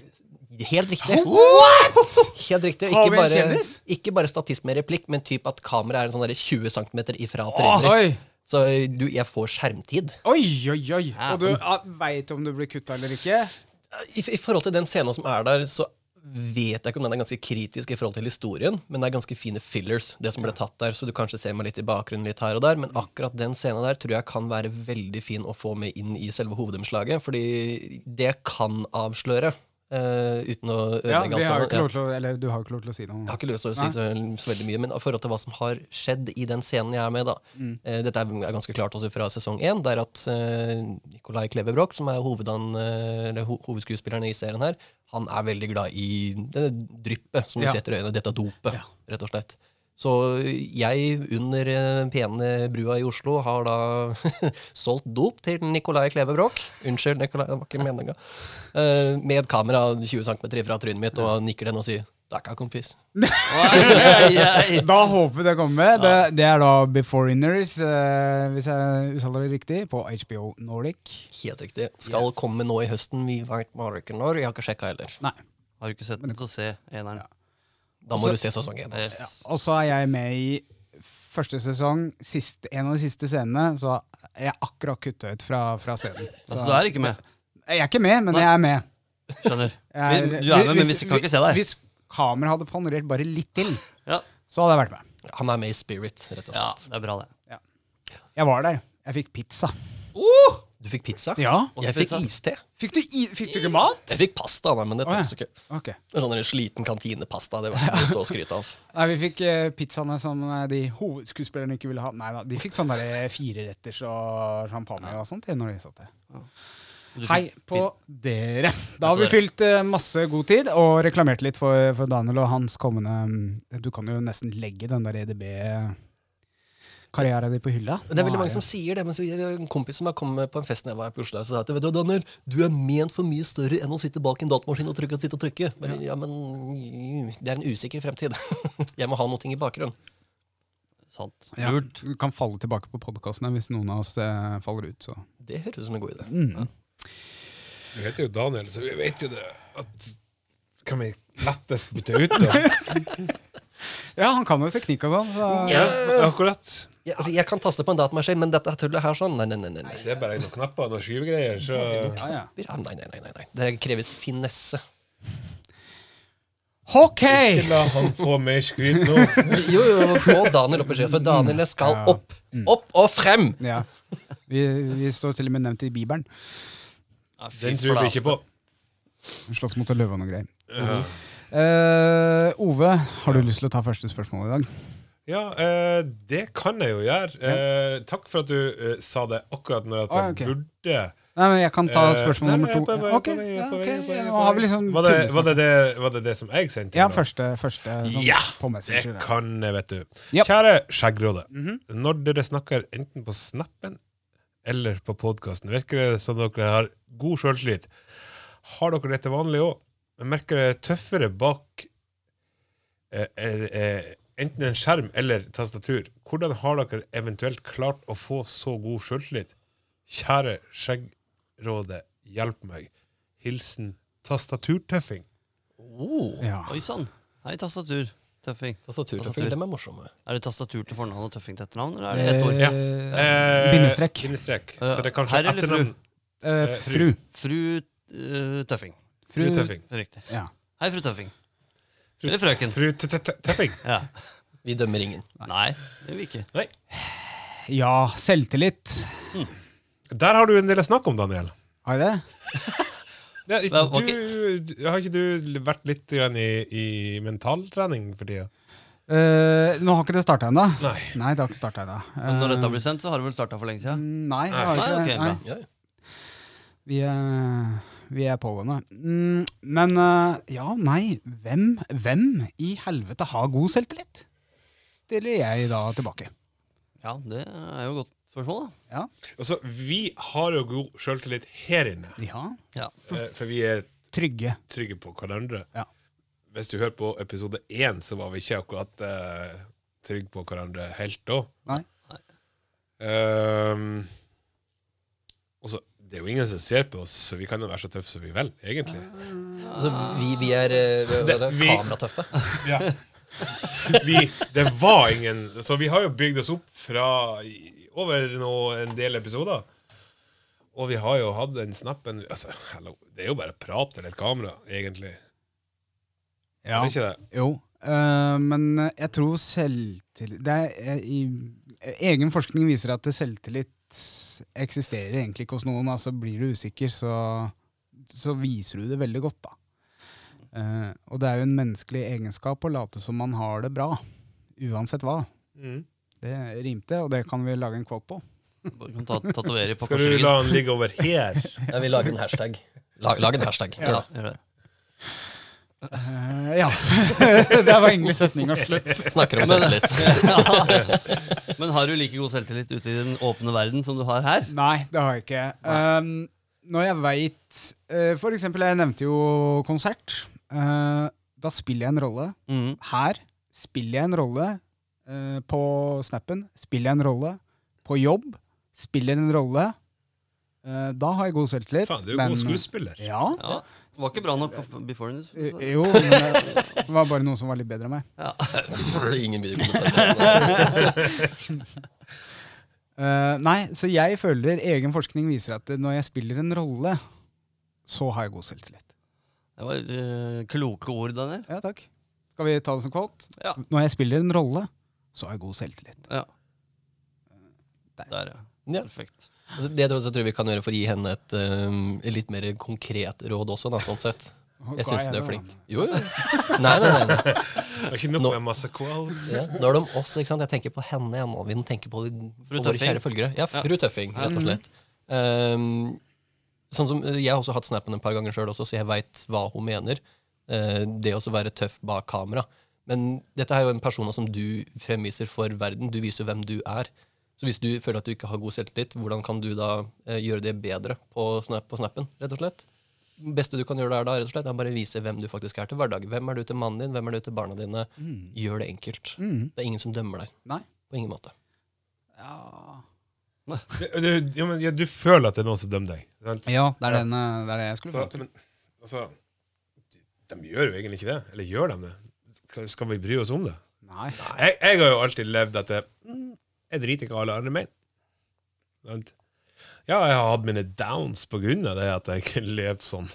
Speaker 4: Helt riktig. Helt riktig.
Speaker 3: Har
Speaker 4: Ikke
Speaker 3: vi en
Speaker 4: bare,
Speaker 3: kjendis?
Speaker 4: ikke bare statist med replikk, men typ at kameraet er en sånn der 20 cm ifra
Speaker 3: Åh,
Speaker 4: trener.
Speaker 3: oi,
Speaker 4: Så eh, du, jeg får skjermtid.
Speaker 3: oi, oi. oi. Og du ja, veit om du blir kutta eller ikke?
Speaker 4: I, I forhold til den scenen som er der, så vet jeg ikke om den er ganske kritisk i forhold til historien, men det er ganske fine fillers, det som ble tatt der, så du kanskje ser meg litt i bakgrunnen litt her og der, men
Speaker 3: Mm.
Speaker 4: akkurat den scenen der tror jeg kan være veldig fin å få med inn i selve hovedomslaget, fordi det kan avsløre, eh, uten å
Speaker 3: Ja,
Speaker 4: ødelegge
Speaker 3: vi har jo ikke
Speaker 4: alt
Speaker 3: lov
Speaker 4: sammen. Ja.
Speaker 3: til å, eller du har jo ikke lov til å si
Speaker 4: Jeg
Speaker 3: noe.
Speaker 4: har ikke lyst til å si så, så veldig mye, men i forhold til hva som har skjedd i den scenen jeg er med, da. Eh, dette er er ganske klart også fra sesong én, der at eh, Nicolai Kleve Broch, som er hovedan, eh, eller ho hovedskuespilleren i serien her, han er veldig glad i det dryppet som du
Speaker 3: Ja.
Speaker 4: setter i øynene. Dette dopet, rett og slett. Så jeg, under eh, pene brua i Oslo, har da solgt dop til Nicolai Kleve Broch. Unnskyld, Nicolai, det var ikke meninga. Eh, med et kamera 20 cm fra trynet mitt, og han nikker den og sier 'takka, kompis'.
Speaker 6: Oi, oi, oi.
Speaker 3: Da håper vi det kommer. Det, det er da Beforeigners, eh, hvis jeg uttaler det riktig, på HBO Nordic.
Speaker 4: Helt riktig. Skal komme nå i høsten. Vi vet bare ikke når. Jeg har ikke sjekka heller.
Speaker 3: Nei.
Speaker 6: Har du ikke sett den, så se eneren.
Speaker 4: Da må du se sesong én. altså.
Speaker 6: Yes.
Speaker 3: Og så er jeg med i første sesong, sist, en av de siste scenene, så er jeg akkurat kutta ut fra, fra scenen. Så,
Speaker 6: Altså, du er ikke med.
Speaker 3: jeg er ikke med, men jeg er med.
Speaker 6: Skjønner.
Speaker 3: Jeg er,
Speaker 6: Vi- Du er med, men vi kan ikke se deg.
Speaker 3: Hvis kameraet hadde panorert bare litt til,
Speaker 6: Ja.
Speaker 3: så hadde jeg vært med.
Speaker 4: Han er med i Spirit, rett og
Speaker 6: ja,
Speaker 4: slett.
Speaker 6: det er bra, det.
Speaker 3: Jeg var der. Jeg fikk pizza.
Speaker 4: Du fikk pizza?
Speaker 3: Ja.
Speaker 4: Jeg fikk iste.
Speaker 3: Fikk du, i, fikk du ikke mat?
Speaker 4: Jeg fikk pasta, nei, men det
Speaker 3: Å, ja.
Speaker 4: tok så ikke.
Speaker 3: Ok.
Speaker 4: En sånn der sliten kantinepasta. Det var ikke noe å stå og skryte av. altså.
Speaker 3: Nei, vi fikk eh, pizzaene som eh, de hovedskuespillerne ikke ville ha. Nei da, de fikk sånne der fireretters og champagne og sånt. Når de satt der.
Speaker 6: Du
Speaker 3: Hei
Speaker 6: fikk-
Speaker 3: på dere. Da har vi fylt eh, masse god tid og reklamert litt for, for Daniel og hans kommende mm, Du kan jo nesten legge den der EDB-karrieren din på hylla.
Speaker 4: Men Det er
Speaker 3: Nå
Speaker 4: veldig mange som
Speaker 3: det-
Speaker 4: sier det. Men så det er en kompis som jeg kom med på en fest da jeg var i Oslo, og sa at vet du, hva, Daniel, du er ment for mye større enn å sitte bak en datamaskin og trykke og sitte og trykke. Bare, ja, men det er en usikker fremtid. Jeg må ha noe i bakgrunnen.
Speaker 6: Sant.
Speaker 3: ja, Du kan falle tilbake på podkastene hvis noen av oss eh, faller ut, så.
Speaker 4: Det høres ut som en god idé.
Speaker 3: Mm.
Speaker 5: Du heter jo Daniel, så vi vet jo det at Kan vi lettest bytte ut, da?
Speaker 3: Ja, han kan jo teknikk og sånn. Så.
Speaker 5: Ja, akkurat.
Speaker 4: Ja, altså, jeg kan taste på en datamaskin, men dette tullet her sånn Nei, nei, nei. nei, nei.
Speaker 5: Det er bare noen knapper og noen skyvegreier, så
Speaker 3: Ja, ja.
Speaker 4: Ja, nei, nei, nei, nei, nei. Det kreves finesse.
Speaker 3: OK!
Speaker 5: Ikke la han få mer skryt nå.
Speaker 4: Jo, jo, få Daniel opp i skjea, for Daniel skal
Speaker 3: Ja.
Speaker 4: opp. Opp og frem!
Speaker 3: Ja. Vi, vi står til og med nevnt i Bibelen.
Speaker 6: Ja, fy
Speaker 5: Den tror vi
Speaker 6: flate.
Speaker 5: ikke på.
Speaker 3: Slåss mot løve og noe greier. Eh, Ove, har du lyst til å ta første spørsmål i dag?
Speaker 5: Ja, eh, det kan jeg jo gjøre. Eh, takk for at du eh, sa det akkurat når at
Speaker 3: Ah,
Speaker 5: jeg
Speaker 3: ok.
Speaker 5: burde
Speaker 3: Nei, men jeg kan ta
Speaker 5: Eh,
Speaker 3: spørsmål
Speaker 5: nei,
Speaker 3: nummer
Speaker 5: nei,
Speaker 3: to.
Speaker 5: på- på-
Speaker 3: Ok,
Speaker 5: på vei,
Speaker 3: ja,
Speaker 5: på
Speaker 3: ok,
Speaker 5: vei, på vei,
Speaker 3: ja,
Speaker 5: på
Speaker 3: nå har
Speaker 5: vei.
Speaker 3: vi liksom
Speaker 5: var, det,
Speaker 3: tullesnakk.
Speaker 5: var, det det, var det det som jeg sendte?
Speaker 3: Ja,
Speaker 5: nå?
Speaker 3: første, første sånn,
Speaker 5: Ja,
Speaker 3: på
Speaker 5: Det
Speaker 3: Messenger. ja.
Speaker 5: kan jeg, vet du.
Speaker 3: Ja. Mhm.
Speaker 5: Kjære Skjeggråde. Når dere snakker enten på snappen eller på podkasten, virker det som dere har god sjøltillit. Har dere det til vanlig òg? Merker det tøffere bak eh, eh, eh, enten en skjerm eller tastatur? Hvordan har dere eventuelt klart å få så god sjøltillit? Kjære Skjeggråde, hjelp meg. Hilsen tastaturtøffing.
Speaker 4: Oh,
Speaker 3: Ja.
Speaker 6: Oi sann. Hei, tastatur. Tøffing.
Speaker 4: Tastaturtøffing, dem er morsomme.
Speaker 6: Er det tastatur til fornavn og tøffing til etternavn, eller er det ett ord?
Speaker 5: Ja.
Speaker 3: Eh, bindestrek.
Speaker 5: Bindestrek.
Speaker 6: Ja.
Speaker 5: Så det er kanskje
Speaker 6: Herr eller fru?
Speaker 5: etternavn
Speaker 3: Eh,
Speaker 5: eh,
Speaker 3: fru.
Speaker 6: Fru eh, Tøffing.
Speaker 3: Fru-
Speaker 5: Fru Tøffing.
Speaker 6: Riktig.
Speaker 3: Ja.
Speaker 6: Hei, fru Tøffing.
Speaker 5: Fru-
Speaker 6: Eller frøken.
Speaker 5: Fru Tø- Tø- Tø- Tøffing.
Speaker 6: Ja.
Speaker 4: Vi dømmer ingen.
Speaker 6: Nei, det gjør vi ikke.
Speaker 5: Nei.
Speaker 3: ja, selvtillit.
Speaker 5: Der har du en del å snakke om, Daniel.
Speaker 3: Har jeg det?
Speaker 5: Ja, i-
Speaker 6: Vel, ok.
Speaker 5: du, du- har ikke du vært litt grann i, i mentaltrening for tida?
Speaker 3: Eh, nå har ikke det starta ennå.
Speaker 5: Nei.
Speaker 3: Nei, det har ikke starta ennå.
Speaker 6: Men når dette blir sendt, så har det vel starta for
Speaker 3: Eh,
Speaker 6: lenge siden?
Speaker 3: Nei, det har
Speaker 6: Nei,
Speaker 3: ikke
Speaker 6: ok,
Speaker 3: det.
Speaker 6: bra.
Speaker 3: Nei.
Speaker 4: Ja, ja.
Speaker 3: Vi er, vi er pågående. Mm, Men eh, ja, nei. Hvem, hvem i helvete har god selvtillit? Stiller jeg da tilbake.
Speaker 6: Ja, det er jo et godt spørsmål, da.
Speaker 3: Ja.
Speaker 5: Altså, vi har jo god sjøltillit her inne,
Speaker 3: ja.
Speaker 5: eh, for vi er
Speaker 3: Trygge.
Speaker 5: trygge på hverandre.
Speaker 3: Ja.
Speaker 5: Hvis du hører på episode én, så var vi ikke akkurat eh, trygge på hverandre helt da.
Speaker 3: Nei.
Speaker 5: Ehm, og så, det er jo ingen som ser på oss, så vi kan jo være så tøffe som vi vil, egentlig.
Speaker 4: Altså, vi, vi er, eh, hva- hva
Speaker 5: Det-
Speaker 4: er det?
Speaker 5: vi-
Speaker 4: kameratøffe.
Speaker 5: Ja. Vi, det var ingen Så vi har jo bygd oss opp fra i- over nå en del episoder. Og vi har jo hatt den snappen altså, hello, Det er jo bare prat til et kamera, egentlig.
Speaker 3: Ja.
Speaker 5: Er det ikke det?
Speaker 3: Jo, øh, men øh, jeg tror selvtillit det er, øh, i, Egen forskning viser at selvtillit eksisterer egentlig ikke hos noen. Altså Blir du usikker, så, så viser du det veldig godt, da. Eh, og det er jo en menneskelig egenskap å late som man har det bra. Uansett hva.
Speaker 5: Mm.
Speaker 3: Det rimte, og det kan vi lage en quote på.
Speaker 6: Du kan ta, tatovere i
Speaker 5: Skal du
Speaker 6: pakkeskjegget.
Speaker 5: la den ligge over her?
Speaker 4: Ja, vi lager en hashtag. Lag, lag en hashtag. Ja.
Speaker 6: Gjør det.
Speaker 3: Eh, ja. Der var egentlig setninga slutt.
Speaker 4: Snakker om det litt.
Speaker 6: Men har du like god selvtillit ute i den åpne verden som du har her?
Speaker 3: Nei, det har jeg ikke. Ehm, når jeg veit uh, For eksempel, jeg nevnte jo konsert. Eh, da spiller jeg en rolle.
Speaker 5: Mm.
Speaker 6: Mhm.
Speaker 3: Her spiller jeg en rolle. eh, på snappen spiller jeg en rolle. På jobb spiller en rolle. Eh, da har jeg god selvtillit.
Speaker 5: Faen, du er jo god skuespiller.
Speaker 3: Ja.
Speaker 6: Ja. Var ikke bra nok for Before News.
Speaker 3: Eh, Jo, men det var bare noen som var litt bedre enn meg.
Speaker 4: Ingen viderekommentarer.
Speaker 3: Eh, nei, så jeg føler egen forskning viser at eh, når jeg spiller en rolle, så har jeg god selvtillit.
Speaker 6: Det var eh, kloke ord, Daniel.
Speaker 3: Ja, takk. Skal vi ta det som quote?
Speaker 6: Ja.
Speaker 3: Når jeg spiller en rolle, så har jeg god selvtillit.
Speaker 6: Ja.
Speaker 3: Der.
Speaker 6: Der, ja.
Speaker 4: Ja.
Speaker 6: Perfekt.
Speaker 4: Altså, Det tror, jeg- så tror jeg vi kan gjøre for å gi henne et um, litt mer konkret råd også, da, sånn sett. Jeg syns hun er flink. Jo, jo. Nei, nei, nei. nei.
Speaker 5: Det er Ikke nok
Speaker 4: Nå-
Speaker 5: med masse quotes.
Speaker 4: Ja. Nå er det om oss, ikke sant. Jeg tenker på henne igjen, og vi må tenke på, på våre
Speaker 6: Tøffing.
Speaker 4: kjære følgere. Ja, Mm. fru Tøffing, rett og slett. Um, sånn som Jeg har også hatt snappen en par ganger sjøl, så jeg veit hva hun mener. Eh, det å så være tøff bak kamera. Men dette er jo en person som du fremviser for verden. Du viser hvem du er. Så hvis du føler at du ikke har god selvtillit, hvordan kan du da eh, gjøre det bedre på, snap, på snappen? rett og slett? Det beste du kan gjøre der, da, rett og slett, er bare vise hvem du faktisk er til hverdagen. Hvem er du til mannen din? Hvem er du til barna dine? Gjør det enkelt.
Speaker 3: Mm.
Speaker 4: Det er ingen som dømmer deg.
Speaker 3: Nei.
Speaker 4: På ingen måte.
Speaker 5: Du, du, ja, men, ja, du føler at det er noen som dømmer deg. sant?
Speaker 3: Ja, det er, den, eh, det er det jeg skulle
Speaker 5: Så,
Speaker 3: fram til.
Speaker 5: men, altså, de, de gjør jo egentlig ikke det. Eller gjør de det? Skal vi bry oss om det?
Speaker 3: Nei.
Speaker 5: jeg, jeg har jo alltid levd etter mm, Jeg driter ikke hva alle andre mener. Sant? Ja, jeg har hatt mine downs på grunn av det at jeg ikke lever sånn.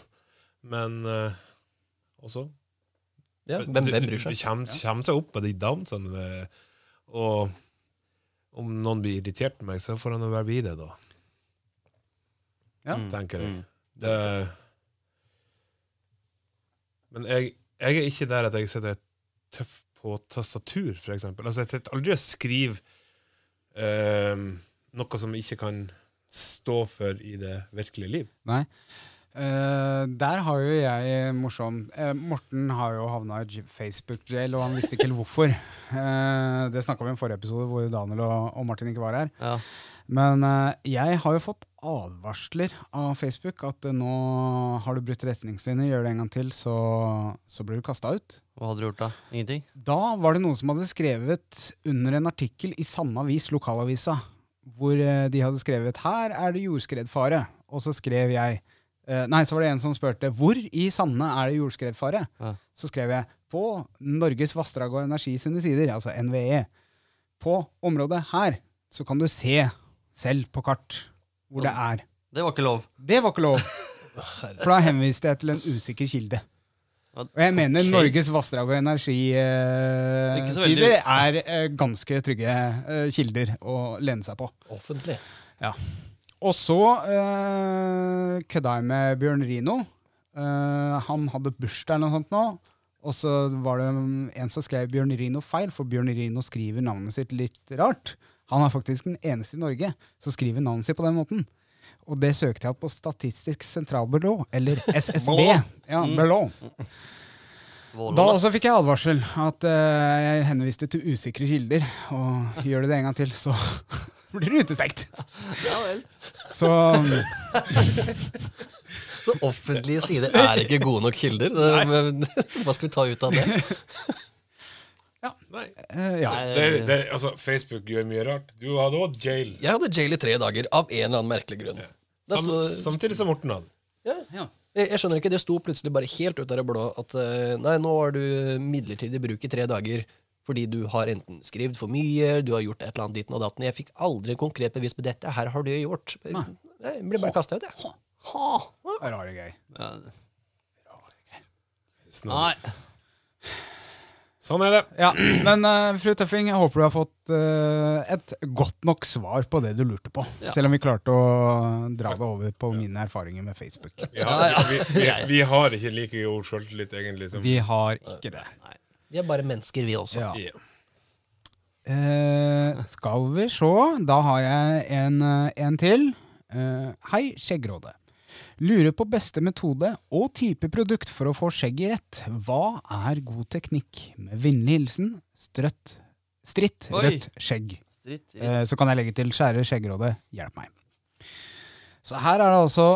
Speaker 5: Men eh, også
Speaker 4: Ja, hvem, hvem bryr
Speaker 5: Du
Speaker 4: seg?
Speaker 5: kommer kommer seg opp av de downsene. eh, Og om noen blir irritert på meg, så får han jo være videre, da. Mm.
Speaker 3: Ja.
Speaker 5: Tenker jeg. Det, men jeg, jeg er ikke der at jeg sitter tøff på tastatur, for eksempel. Altså, jeg sitter aldri og skriver eh, noe som jeg ikke kan stå for i det virkelige liv.
Speaker 3: Nei. Eh, der har jo jeg morsom eh, Morten har jo havna i j- Facebook-jail, og han visste ikke helt hvorfor. Eh, det snakka vi om i forrige episode, hvor Daniel og, og Martin ikke var her.
Speaker 6: Ja.
Speaker 3: Men eh, jeg har jo fått advarsler av Facebook at eh, nå har du brutt retningslinjer, gjør det en gang til, så, så blir du kasta ut.
Speaker 6: Hva hadde du gjort da? Ingenting?
Speaker 3: Da var det noen som hadde skrevet under en artikkel i samme avis, lokalavisa, hvor eh, de hadde skrevet 'Her er det jordskredfare', og så skrev jeg eh, Nei, så var det en som spurte 'Hvor i Sande er det jordskredfare?'
Speaker 6: Ja.
Speaker 3: Så skrev jeg 'På Norges vassdrag og energi sine sider', altså NVE. På området her så kan du se selv på kart hvor det er.
Speaker 6: Det var ikke lov.
Speaker 3: Det var ikke lov!
Speaker 4: Herre.
Speaker 3: For da henviste jeg til en usikker kilde.
Speaker 6: Ja,
Speaker 3: Og jeg mener
Speaker 6: ok.
Speaker 3: Norges vassdrag- og energisider
Speaker 6: Ikke så
Speaker 3: sider er eh, ganske trygge eh, kilder å lene seg på.
Speaker 4: Offentlig.
Speaker 3: Og så eh, kødda jeg med Bjørn Rino. Eh, han hadde bursdag eller noe sånt nå. Og så var det mm, en som skrev Bjørn Rino feil, for Bjørn Rino skriver navnet sitt litt rart. Han er faktisk den eneste i Norge som skriver navnet sitt på den måten. Og det søkte jeg opp på Statistisk sentralbyrå, eller SSB. ja,
Speaker 6: Mm.
Speaker 3: byrå. Da
Speaker 6: Vålåla.
Speaker 3: også fikk jeg advarsel at eh, jeg henviste til usikre kilder. Og gjør du det en gang til, så blir du utestengt.
Speaker 6: Ja vel.
Speaker 3: Så
Speaker 4: Så offentlige sider er ikke gode nok kilder. Det- men- Hva skal vi ta ut av det?
Speaker 5: Nei.
Speaker 3: eh, ja.
Speaker 5: Det er, det er, altså, Facebook gjør mye rart. Du hadde òg jail.
Speaker 4: Jeg hadde jail i tre dager av en eller annen merkelig grunn. Da
Speaker 5: Sam,
Speaker 4: sto-
Speaker 5: samtidig som Morten hadde.
Speaker 4: Jeg jeg skjønner ikke, Det sto plutselig bare helt ut av det blå at eh, nei, nå har du midlertidig bruk i tre dager fordi du har enten skrevet for mye, du har gjort et eller annet ditten og datten. Jeg fikk aldri en konkret bevis på dette. Her har du gjort. Nei. Jeg ble bare kasta ut, jeg.
Speaker 3: Det er rare greier.
Speaker 6: Ja.
Speaker 5: Snart.
Speaker 6: Nei.
Speaker 5: Sånn er det.
Speaker 3: Ja, men eh, fru Tøffing, jeg håper du har fått eh, et godt nok svar på det du lurte på.
Speaker 6: Ja.
Speaker 3: Selv om vi klarte å dra det over på mine erfaringer med Facebook.
Speaker 5: Vi har, vi, vi, vi har ikke like god sjøltillit, egentlig. Som,
Speaker 3: Vi har ikke det.
Speaker 4: Vi er bare mennesker, vi også.
Speaker 3: Ja.
Speaker 5: Ja.
Speaker 3: Eh, skal vi se, da har jeg en, eh, en til. Eh, hei, Skjeggråde. Lurer på beste metode og type produkt for å få skjegget rett. Hva er god teknikk? Med vennlig hilsen strøtt, stritt,
Speaker 6: Oi.
Speaker 3: rødt skjegg.
Speaker 6: Dritt i.
Speaker 3: Eh, Så kan jeg legge til kjære skjeggråde, hjelp meg. Så her er det altså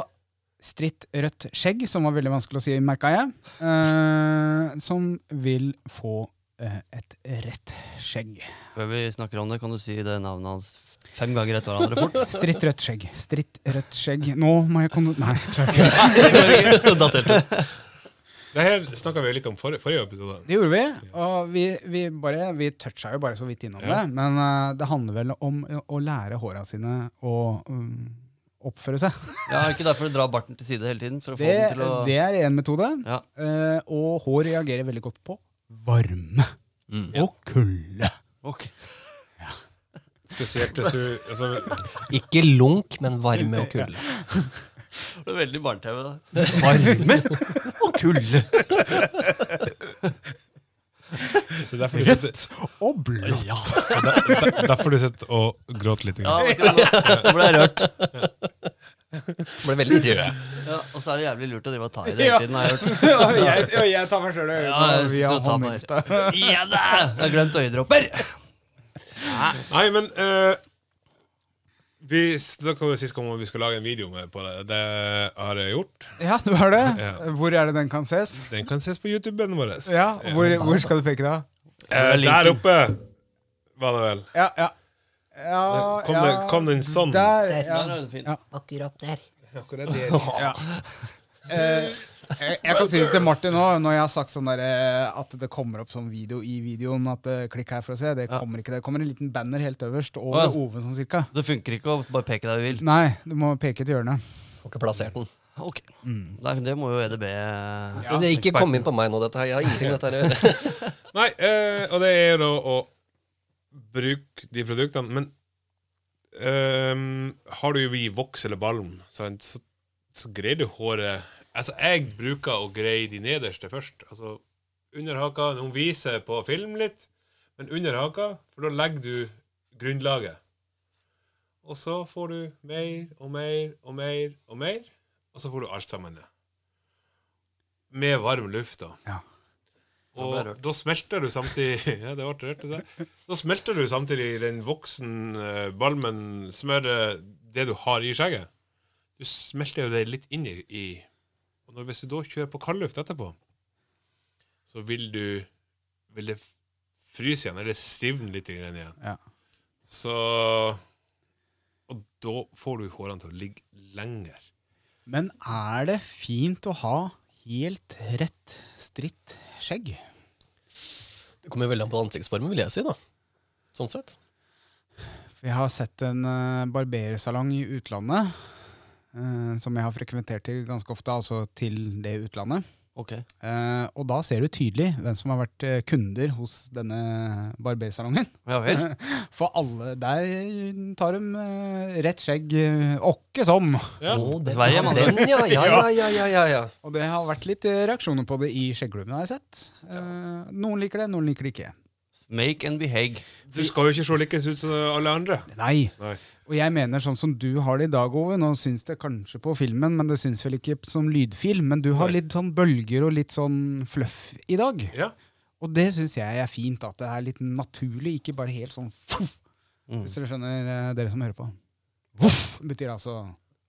Speaker 3: stritt rødt skjegg, som var veldig vanskelig å si, merka jeg, eh, som vil få eh, et rett skjegg.
Speaker 6: Før vi snakker om det, kan du si det navnet hans fem ganger etter hverandre fort?
Speaker 3: Stritt rødt skjegg. Stritt rødt skjegg. Nå må jeg kon... Nei. klarer ikke.
Speaker 4: Da telte det.
Speaker 5: Det her snakka vi litt om forrige, forrige episode.
Speaker 3: Det gjorde vi, og vi, vi, bare, vi toucha jo bare så vidt innom det. Men eh, det handler vel om eh, å lære håra sine å mm, oppføre seg.
Speaker 6: Ja, er det ikke derfor du drar barten til side hele tiden? For å få
Speaker 3: Det,
Speaker 6: den til å...
Speaker 3: det er én metode.
Speaker 6: Ja.
Speaker 3: Eh, og hår reagerer veldig godt på varme
Speaker 6: Mm.
Speaker 3: og kulde.
Speaker 6: Ok.
Speaker 5: Spesielt hvis du altså,
Speaker 4: Ikke lunk, men varme og kulde.
Speaker 6: Det er veldig barne-TV, da.
Speaker 3: Varme?
Speaker 6: Og kulde!
Speaker 5: Det er derfor du sitter,
Speaker 3: Rødt og blått.
Speaker 5: der, der, derfor du sitter og gråter litt.
Speaker 6: Ja, det var
Speaker 3: sånn.
Speaker 6: ikke det. Nå ble jeg rørt.
Speaker 4: Ble veldig rød.
Speaker 6: Ja, og så er det jævlig lurt å drive og ta i det
Speaker 3: Ja.
Speaker 6: hele tiden, har jeg hørt.
Speaker 3: og, jeg, og jeg tar meg sjøl i
Speaker 6: Ja, jeg
Speaker 3: øynene.
Speaker 6: sitter og tar meg
Speaker 3: Ja,
Speaker 6: Ja da! Jeg har glemt øyedråper!
Speaker 5: Nei, men eh, Vi snakka jo sist om at vi skal lage en video med på det. Det har jeg gjort.
Speaker 3: ja, du har det.
Speaker 5: Ja.
Speaker 3: Hvor er det den kan ses?
Speaker 5: Den kan ses på YouTuben vår.
Speaker 3: Ja, hvor, hvor skal du peke da?
Speaker 5: Eh, der oppe var det vel.
Speaker 3: Ja, ja. ja
Speaker 5: Kom,
Speaker 3: ja.
Speaker 5: det, kom den sånn?
Speaker 6: Mm.
Speaker 3: Der,
Speaker 6: Ja,
Speaker 3: ja.
Speaker 6: det er fint.
Speaker 3: Ja.
Speaker 4: Akkurat der.
Speaker 5: Akkurat der.
Speaker 3: ja. Eh, jeg, jeg kan si det til Martin òg, når jeg har sagt sånn der, eh, at det kommer opp sånn video i videoen. At eh, klikk her for å se. Det
Speaker 6: Ja.
Speaker 3: kommer ikke. Det kommer en liten banner helt øverst
Speaker 6: Å,
Speaker 3: over
Speaker 6: ja.
Speaker 3: Ove sånn cirka.
Speaker 6: Det funker ikke å bare peke der vi vil.
Speaker 3: Nei, du må peke til hjørnet.
Speaker 4: Får ikke plassert den.
Speaker 6: Ok. Nei, det må jo E EDB eh,
Speaker 4: Men det ikke kom inn på meg nå, dette her. Jeg har ingenting med dette her å gjøre.
Speaker 5: Nei, eh, og det er da å bruke de produktene. Men ehm, har du jo i voks eller balm, sant, så, så greier du håret Altså, jeg bruker å greie de nederste først. Altså under haka. Noen viser på film litt, men under haka, for da legger du grunnlaget. Og så får du mer og mer og mer og mer, og så får du alt sammen ned. Med varm luft, da.
Speaker 3: Ja.
Speaker 6: Da
Speaker 5: Og
Speaker 6: ble jeg rørt.
Speaker 5: da smelter du samtidig Ja, det ble rørt, det der. Da smelter du samtidig den voksen eh, balmen, smøret, det du har i skjegget. Du smelter jo det litt inn i. i. Og når, hvis du da kjører på kaldluft etterpå, så vil du Vil det f- fryse igjen, eller stivne litt grann igjen.
Speaker 3: Ja.
Speaker 5: Så Og da får du hårene til å ligge lenger.
Speaker 3: Men er det fint å ha helt rett stritt skjegg?
Speaker 4: Det kommer veldig an på ansiktsformen, vil jeg si. da. Sånn sett.
Speaker 3: Vi har sett en eh, barbersalong i utlandet. eh, som jeg har frekventert til ganske ofte, altså til det utlandet.
Speaker 6: Ok.
Speaker 3: Eh, og da ser du tydelig hvem som har vært eh, kunder hos denne barbersalongen.
Speaker 6: Ja vel.
Speaker 3: For alle der tar de eh, rett skjegg eh, åkke som.
Speaker 5: Ja.
Speaker 4: Å, den,
Speaker 6: Sverige,
Speaker 4: ja,
Speaker 6: mann.
Speaker 4: den, ja, ja, ja, ja, ja, ja, ja.
Speaker 3: Og det har vært litt eh, reaksjoner på det i skjeggklubben, har jeg sett. Eh, noen liker det, noen liker det ikke.
Speaker 6: Make and behag.
Speaker 5: Du skal jo ikke se likest ut som alle andre.
Speaker 3: Nei.
Speaker 5: Nei.
Speaker 3: Og jeg mener sånn som du har det i dag, Ove. Nå syns det kanskje på filmen, men det syns vel ikke som lydfil. Men du har
Speaker 5: Nei.
Speaker 3: litt sånn bølger og litt sånn fluff i dag.
Speaker 5: Ja.
Speaker 3: Og det syns jeg er fint, at det er litt naturlig, ikke bare helt sånn
Speaker 6: Mm.
Speaker 3: Hvis dere skjønner, eh, dere som hører på. Betyr altså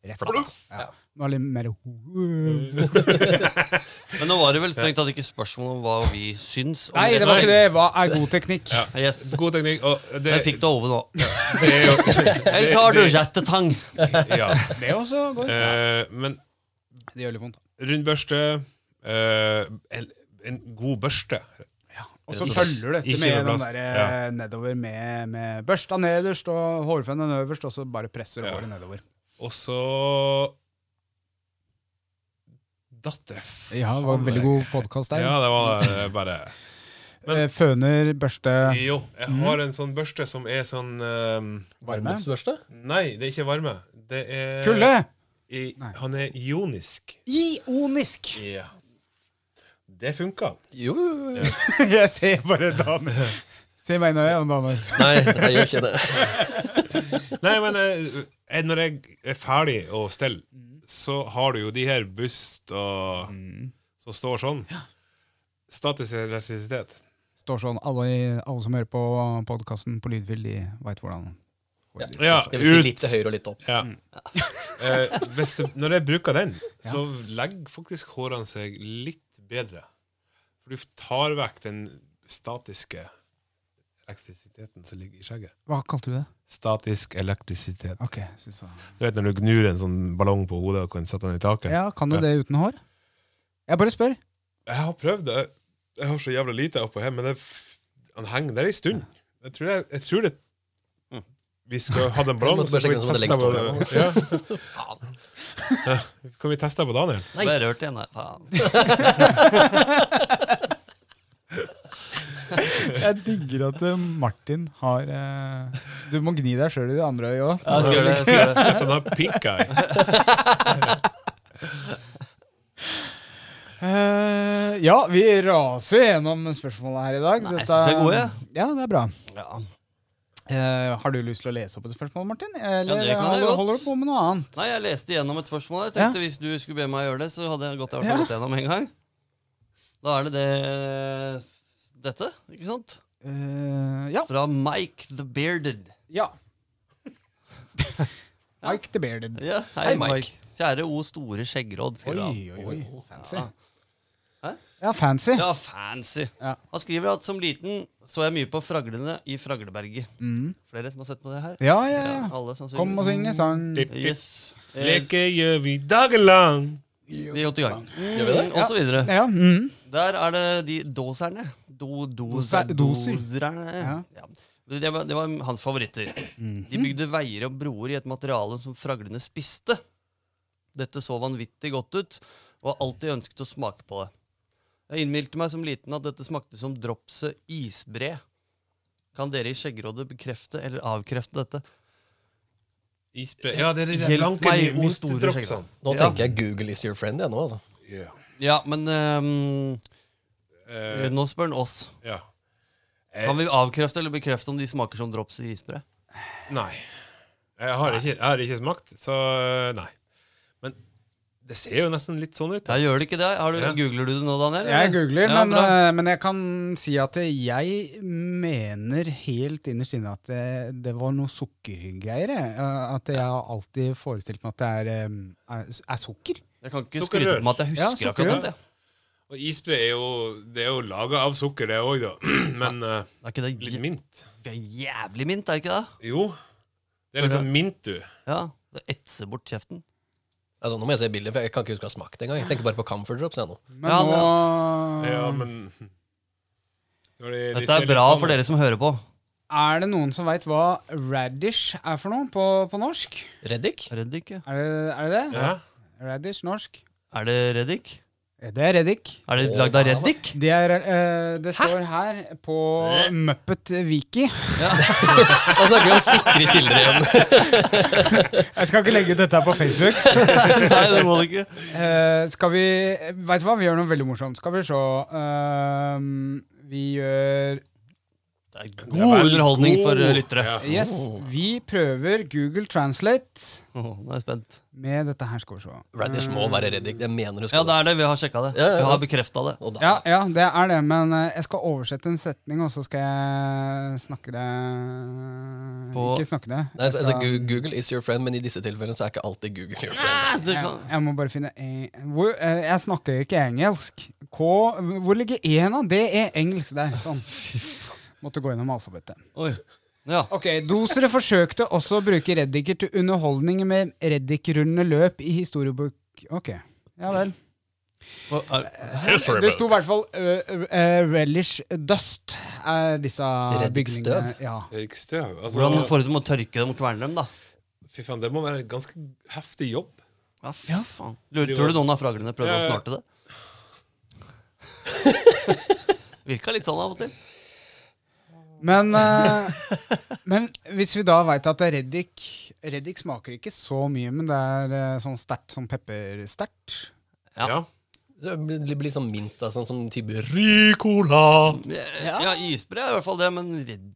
Speaker 3: rett Ja. Nå er det litt mer
Speaker 5: Eh,
Speaker 6: Men nå var det vel strengt tatt ikke spørsmål om hva vi syns. Om
Speaker 3: Nei, det var ikke det. Hva er god teknikk?
Speaker 5: Ja.
Speaker 6: Yes.
Speaker 5: God teknikk. Og det,
Speaker 6: Jeg fikk det over nå.
Speaker 5: det er jo
Speaker 6: Ellers har du rettetang.
Speaker 5: ja.
Speaker 3: Det også går.
Speaker 5: Eh, Men
Speaker 3: Det gjør litt vondt.
Speaker 5: rund børste eh, en, en god børste.
Speaker 3: Og så
Speaker 6: Ikke-
Speaker 3: følger du dette
Speaker 5: ikke
Speaker 3: med den
Speaker 5: overblast.
Speaker 3: der, eh, nedover med, med børsta nederst og hårfønnen øverst, og så bare presser
Speaker 5: Ja.
Speaker 3: håret nedover.
Speaker 5: Og så datt det f-
Speaker 3: Ja, det var en veldig god podkast der.
Speaker 5: Ja, det var eh, bare men-
Speaker 3: Eh, Føner, børste,
Speaker 5: Jo, jeg
Speaker 3: Mhm.
Speaker 5: har en sånn børste som er sånn eh,
Speaker 3: varme.
Speaker 4: Varmebørste?
Speaker 5: Nei, det er ikke varme. Det er
Speaker 3: Kulde!
Speaker 5: I,
Speaker 3: Nei.
Speaker 5: han er ionisk.
Speaker 3: Ionisk!
Speaker 5: Ja. Det funka.
Speaker 4: Jo, jo, jo.
Speaker 3: Jeg ser bare damer. Se meg inn i øynene, damer.
Speaker 4: Nei, jeg gjør ikke det.
Speaker 5: Nei, men eh, eh, når jeg er ferdig å stelle, så har du jo de her bust og som står sånn. Statisk elastisitet.
Speaker 3: Står sånn, alle, alle som hører på podkasten på lydfil, de veit hvordan.
Speaker 4: Ja.
Speaker 5: Ja,
Speaker 4: Det vil si
Speaker 5: ut.
Speaker 4: litt til høyre og litt opp.
Speaker 5: Ja. Eh, hvis, du- når jeg bruker den, så legger faktisk hårene seg litt bedre. For du tar vekk den statiske elektrisiteten som ligger i skjegget.
Speaker 3: Hva kalte du det?
Speaker 5: Statisk elektrisitet.
Speaker 3: Ok, synes jeg.
Speaker 5: Du vet når du gnur en sånn ballong på hodet og kan sette den i taket?
Speaker 3: Ja, Kan du det uten hår? Jeg bare spør.
Speaker 5: Jeg har prøvd det. Jeg har så jævla lite oppå her, men det, f- han henger der ei stund. Jeg tror, jeg, jeg tror det
Speaker 6: Mm.
Speaker 5: Vi skal ha den ballongen,
Speaker 4: måtte bare sjekke den som hadde
Speaker 5: på ja. Ja. Kan vi teste på Daniel?
Speaker 6: Ble jeg rørt igjen, nei. Faen.
Speaker 3: Jeg digger at eh, Martin har eh, Du må gni deg sjøl i det andre øyet òg.
Speaker 6: Jeg skal gjøre det. Jeg skal gjøre det.
Speaker 5: At han har pink eye.
Speaker 3: Eh, ja, vi raser gjennom spørsmålet her i dag.
Speaker 6: jeg synes det er gode.
Speaker 3: Ja, det er bra.
Speaker 6: Ja.
Speaker 3: Eh, har du lyst til å lese opp et spørsmål, Martin? Eller eh,
Speaker 6: det kan jeg
Speaker 3: holder,
Speaker 6: godt.
Speaker 3: holder du på med noe annet?
Speaker 6: Nei, jeg leste gjennom et spørsmål. Jeg
Speaker 3: Ja.
Speaker 6: tenkte Hvis du skulle be meg gjøre det, så hadde jeg godt jeg vært
Speaker 3: Ja.
Speaker 6: gått gjennom en gang. Da er det det dette, ikke sant?
Speaker 3: Eh, ja.
Speaker 6: Fra Mike the Bearded.
Speaker 3: ja. Mike the Bearded.
Speaker 6: Ja, hei,
Speaker 4: Hei, Mike.
Speaker 6: Kjære O store skjeggeråd,
Speaker 3: Oi,
Speaker 6: skriver han.
Speaker 3: oi, oi. Fancy.
Speaker 6: Hæ?
Speaker 3: Ja, fancy.
Speaker 6: Ja, fancy.
Speaker 3: Ja.
Speaker 6: Han skriver at som liten så jeg mye på Fraglene i Fragleberget.
Speaker 3: Mm.
Speaker 6: Flere som har sett på det her?
Speaker 3: Ja, ja, altså, ja.
Speaker 6: alle sannsynligvis.
Speaker 3: Kom og synge sang.
Speaker 6: Yes. Eh,
Speaker 5: Leke gjør vi dagen lang.
Speaker 6: vi er godt i gang.
Speaker 4: Gjør vi det?
Speaker 6: Og så videre.
Speaker 3: Ja, mm.
Speaker 6: Der er det de doserne. Do, doser,
Speaker 3: Doser- doser.
Speaker 6: Doserne.
Speaker 3: Ja. Mhm.
Speaker 6: Ja. Det, var, det var hans favoritter. De bygde veier og broer i et materiale som fraglene spiste. Dette så vanvittig godt ut, og har alltid ønsket å smake på det. Jeg innbilte meg som liten at dette smakte som dropset isbre. Kan dere i Skjeggerådet bekrefte eller avkrefte dette?
Speaker 5: Isbre. Ja, det er de der
Speaker 6: Hjelp
Speaker 5: lanke
Speaker 6: meg, O store
Speaker 5: mistedropsene.
Speaker 4: Nå
Speaker 6: Ja.
Speaker 4: tenker jeg Google is your friend, jeg nå, altså.
Speaker 5: Yeah.
Speaker 6: Ja, men øhm,
Speaker 5: Eh,
Speaker 6: nå spør han oss.
Speaker 5: ja.
Speaker 6: Kan vi avkrefte eller bekrefte om de smaker som dropset isbre?
Speaker 5: Nei. Jeg har, ikke, jeg har ikke smakt, så eh, nei. Men det ser jo nesten litt sånn ut.
Speaker 6: Ja, gjør det ikke det? Har du,
Speaker 5: Ja.
Speaker 6: Googler du det nå, Daniel?
Speaker 3: Jeg
Speaker 6: eller?
Speaker 3: googler,
Speaker 6: Ja,
Speaker 3: men,
Speaker 6: bra.
Speaker 3: eh, men jeg kan si at jeg mener helt innerst inne at det, det var noe sukkergreier. jeg. Eh, At jeg har alltid forestilt meg at det er, eh, er, er sukker.
Speaker 6: Jeg kan ikke skryte
Speaker 5: Sukkerrør.
Speaker 6: på meg at jeg
Speaker 3: Ja,
Speaker 6: husker
Speaker 3: sukkerrør.
Speaker 6: akkurat det.
Speaker 5: Og isbre er jo, det er jo laga av sukker, det òg, da. Men eh,
Speaker 6: Er ikke det
Speaker 5: litt mint.
Speaker 6: jæ- jævlig mint, er det ikke det?
Speaker 5: Jo. Det er litt sånn mint, du.
Speaker 6: Ja, Det etser bort kjeften.
Speaker 4: altså. Nå må jeg se bildet, for jeg kan ikke huske å ha smakt det engang. Jeg tenker bare på Comfort Drops, jeg nå.
Speaker 3: Men
Speaker 6: Ja,
Speaker 3: nå
Speaker 5: Ja, men Når de- de
Speaker 6: Dette
Speaker 5: ser
Speaker 6: er
Speaker 5: litt
Speaker 6: bra
Speaker 5: sånn-
Speaker 6: for dere som hører på.
Speaker 3: Er det noen som veit hva radish er for noe på, på norsk?
Speaker 4: Reddik?
Speaker 6: Reddik, ja.
Speaker 3: Er det er det? det?
Speaker 5: Ja.
Speaker 3: Radish norsk? Eh,
Speaker 6: Er det reddik?
Speaker 3: Det er reddik.
Speaker 6: Er det
Speaker 4: Å,
Speaker 6: lagd av
Speaker 4: ja.
Speaker 6: reddik?
Speaker 3: Det, er, eh, det står her på Muppet Wiki.
Speaker 4: Da snakker vi om sikre kilder igjen.
Speaker 3: Jeg skal ikke legge ut dette her på Facebook.
Speaker 6: Nei, det må det ikke.
Speaker 3: Eh, skal vi Veit du hva, vi gjør noe veldig morsomt. Skal vi se ehm, Vi gjør
Speaker 6: Det er
Speaker 5: Det er
Speaker 6: god
Speaker 5: vel-
Speaker 6: underholdning for
Speaker 5: god.
Speaker 6: eh, lyttere.
Speaker 5: Ja.
Speaker 3: Yes, vi prøver Google Translate
Speaker 6: Åh, nå er jeg spent.
Speaker 3: med dette her. Skal vi se.
Speaker 4: Radish må være reddik. Det mener du
Speaker 6: Ja,
Speaker 4: skal.
Speaker 6: det er det. Vi har sjekka det.
Speaker 4: Ja, ja, ja.
Speaker 6: Vi har bekrefta det.
Speaker 4: Og da-
Speaker 3: Ja, ja, det er det, men eh, jeg skal oversette en setning, og så skal jeg snakke det
Speaker 6: På-
Speaker 3: Ikke snakke det.
Speaker 4: Nei, altså,
Speaker 3: skal-
Speaker 4: Gu- Google is your friend, men i disse tilfellene så er ikke alltid Google your friend.
Speaker 6: Ah, det
Speaker 3: Jeg,
Speaker 6: kan...
Speaker 3: jeg må bare finne en- hvor, eh, Jeg snakker ikke engelsk. K Hvor ligger E-en, da? Det er engelsk der. Sånn. Måtte gå gjennom alfabetet.
Speaker 6: Oi. Ja.
Speaker 3: Ok, Dosere forsøkte også å bruke reddiker til underholdning med reddikrundende løp i historiebok... Ok, ja vel.
Speaker 6: Hva er-
Speaker 5: History
Speaker 3: Det
Speaker 5: book.
Speaker 3: sto i hvert fall ø, ø, ø, relish dust, er disse
Speaker 4: Reddiksstøv?
Speaker 3: bygningene. Ja.
Speaker 5: Det er ikke støv. Altså,
Speaker 6: Hvordan får du til å tørke dem og kverne dem, da?
Speaker 5: Fy faen, det må være en ganske heftig jobb.
Speaker 6: Ja, fy faen. Lurer, tror du noen av fraglene prøvde å
Speaker 5: Ja, ja.
Speaker 6: snarte det? Virka litt sånn av og til.
Speaker 3: Men, eh, men hvis vi da veit at det er reddik Reddik smaker ikke så mye, men det er eh, sånn sterkt som peppersterkt.
Speaker 6: Ja.
Speaker 4: Så Det blir- blir sånn mint, da, sånn som type Ricola.
Speaker 6: Ja, isbre er i hvert fall det, men redd...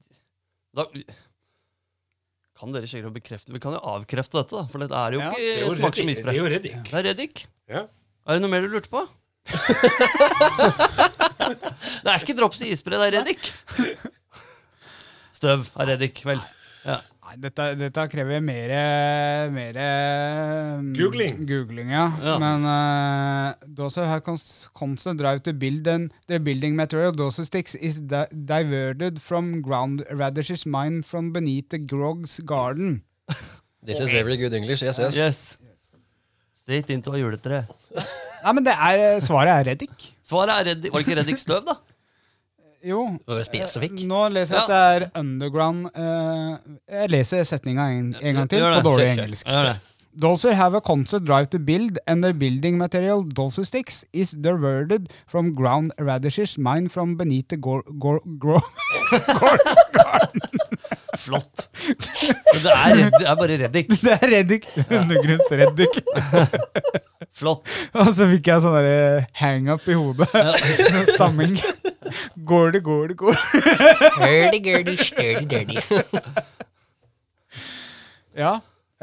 Speaker 6: Da... Kan dere sikkert bekrefte Vi kan jo avkrefte dette, da. For det er jo
Speaker 3: Ja.
Speaker 5: Det er jo
Speaker 6: ikke smak som
Speaker 5: reddik. Det
Speaker 6: isbre.
Speaker 5: er jo reddik.
Speaker 6: Det er reddik.
Speaker 5: Ja.
Speaker 6: Er det noe mer du lurte på? det er ikke drops til isbre, det er reddik. Støv av reddik, vel.
Speaker 3: Nei, dette, dette krever mer, mer mm,
Speaker 5: Googling.
Speaker 3: googling ja.
Speaker 6: Ja.
Speaker 3: Men uh, those her cons constant drive to build and the building material those sticks is di diverted from ground radishes mined from beneath the grog's garden.
Speaker 4: This is very good English. Yes, yes.
Speaker 6: Yes. Straight into av juletre.
Speaker 3: Nei, men det er, svaret er reddik.
Speaker 6: Svaret er reddik. Var det ikke reddik støv, da?
Speaker 3: Jo.
Speaker 4: Det var Spesifikk.
Speaker 3: Eh, Nå leser jeg at det er underground eh, Jeg leser setninga en, en gang til
Speaker 6: Gjør
Speaker 3: på
Speaker 6: det.
Speaker 3: dårlig
Speaker 6: Kjør, kjør.
Speaker 3: engelsk.
Speaker 6: Gjør det.
Speaker 3: Dulcer have a constant drive to build, and their building material, dulcer sticks, is diverted from ground radishes mined from beneath the gor... gor... gor...
Speaker 6: Flott. Men det er, redd, det er bare reddik.
Speaker 3: Det er reddik! Undergrunnsreddik.
Speaker 6: Flott.
Speaker 3: Og så fikk jeg sånn derre hang-up i hodet. Stamming. Går det, går det, går det.
Speaker 4: Hurdy-gurdy, sturdy-dirty.
Speaker 3: Ja.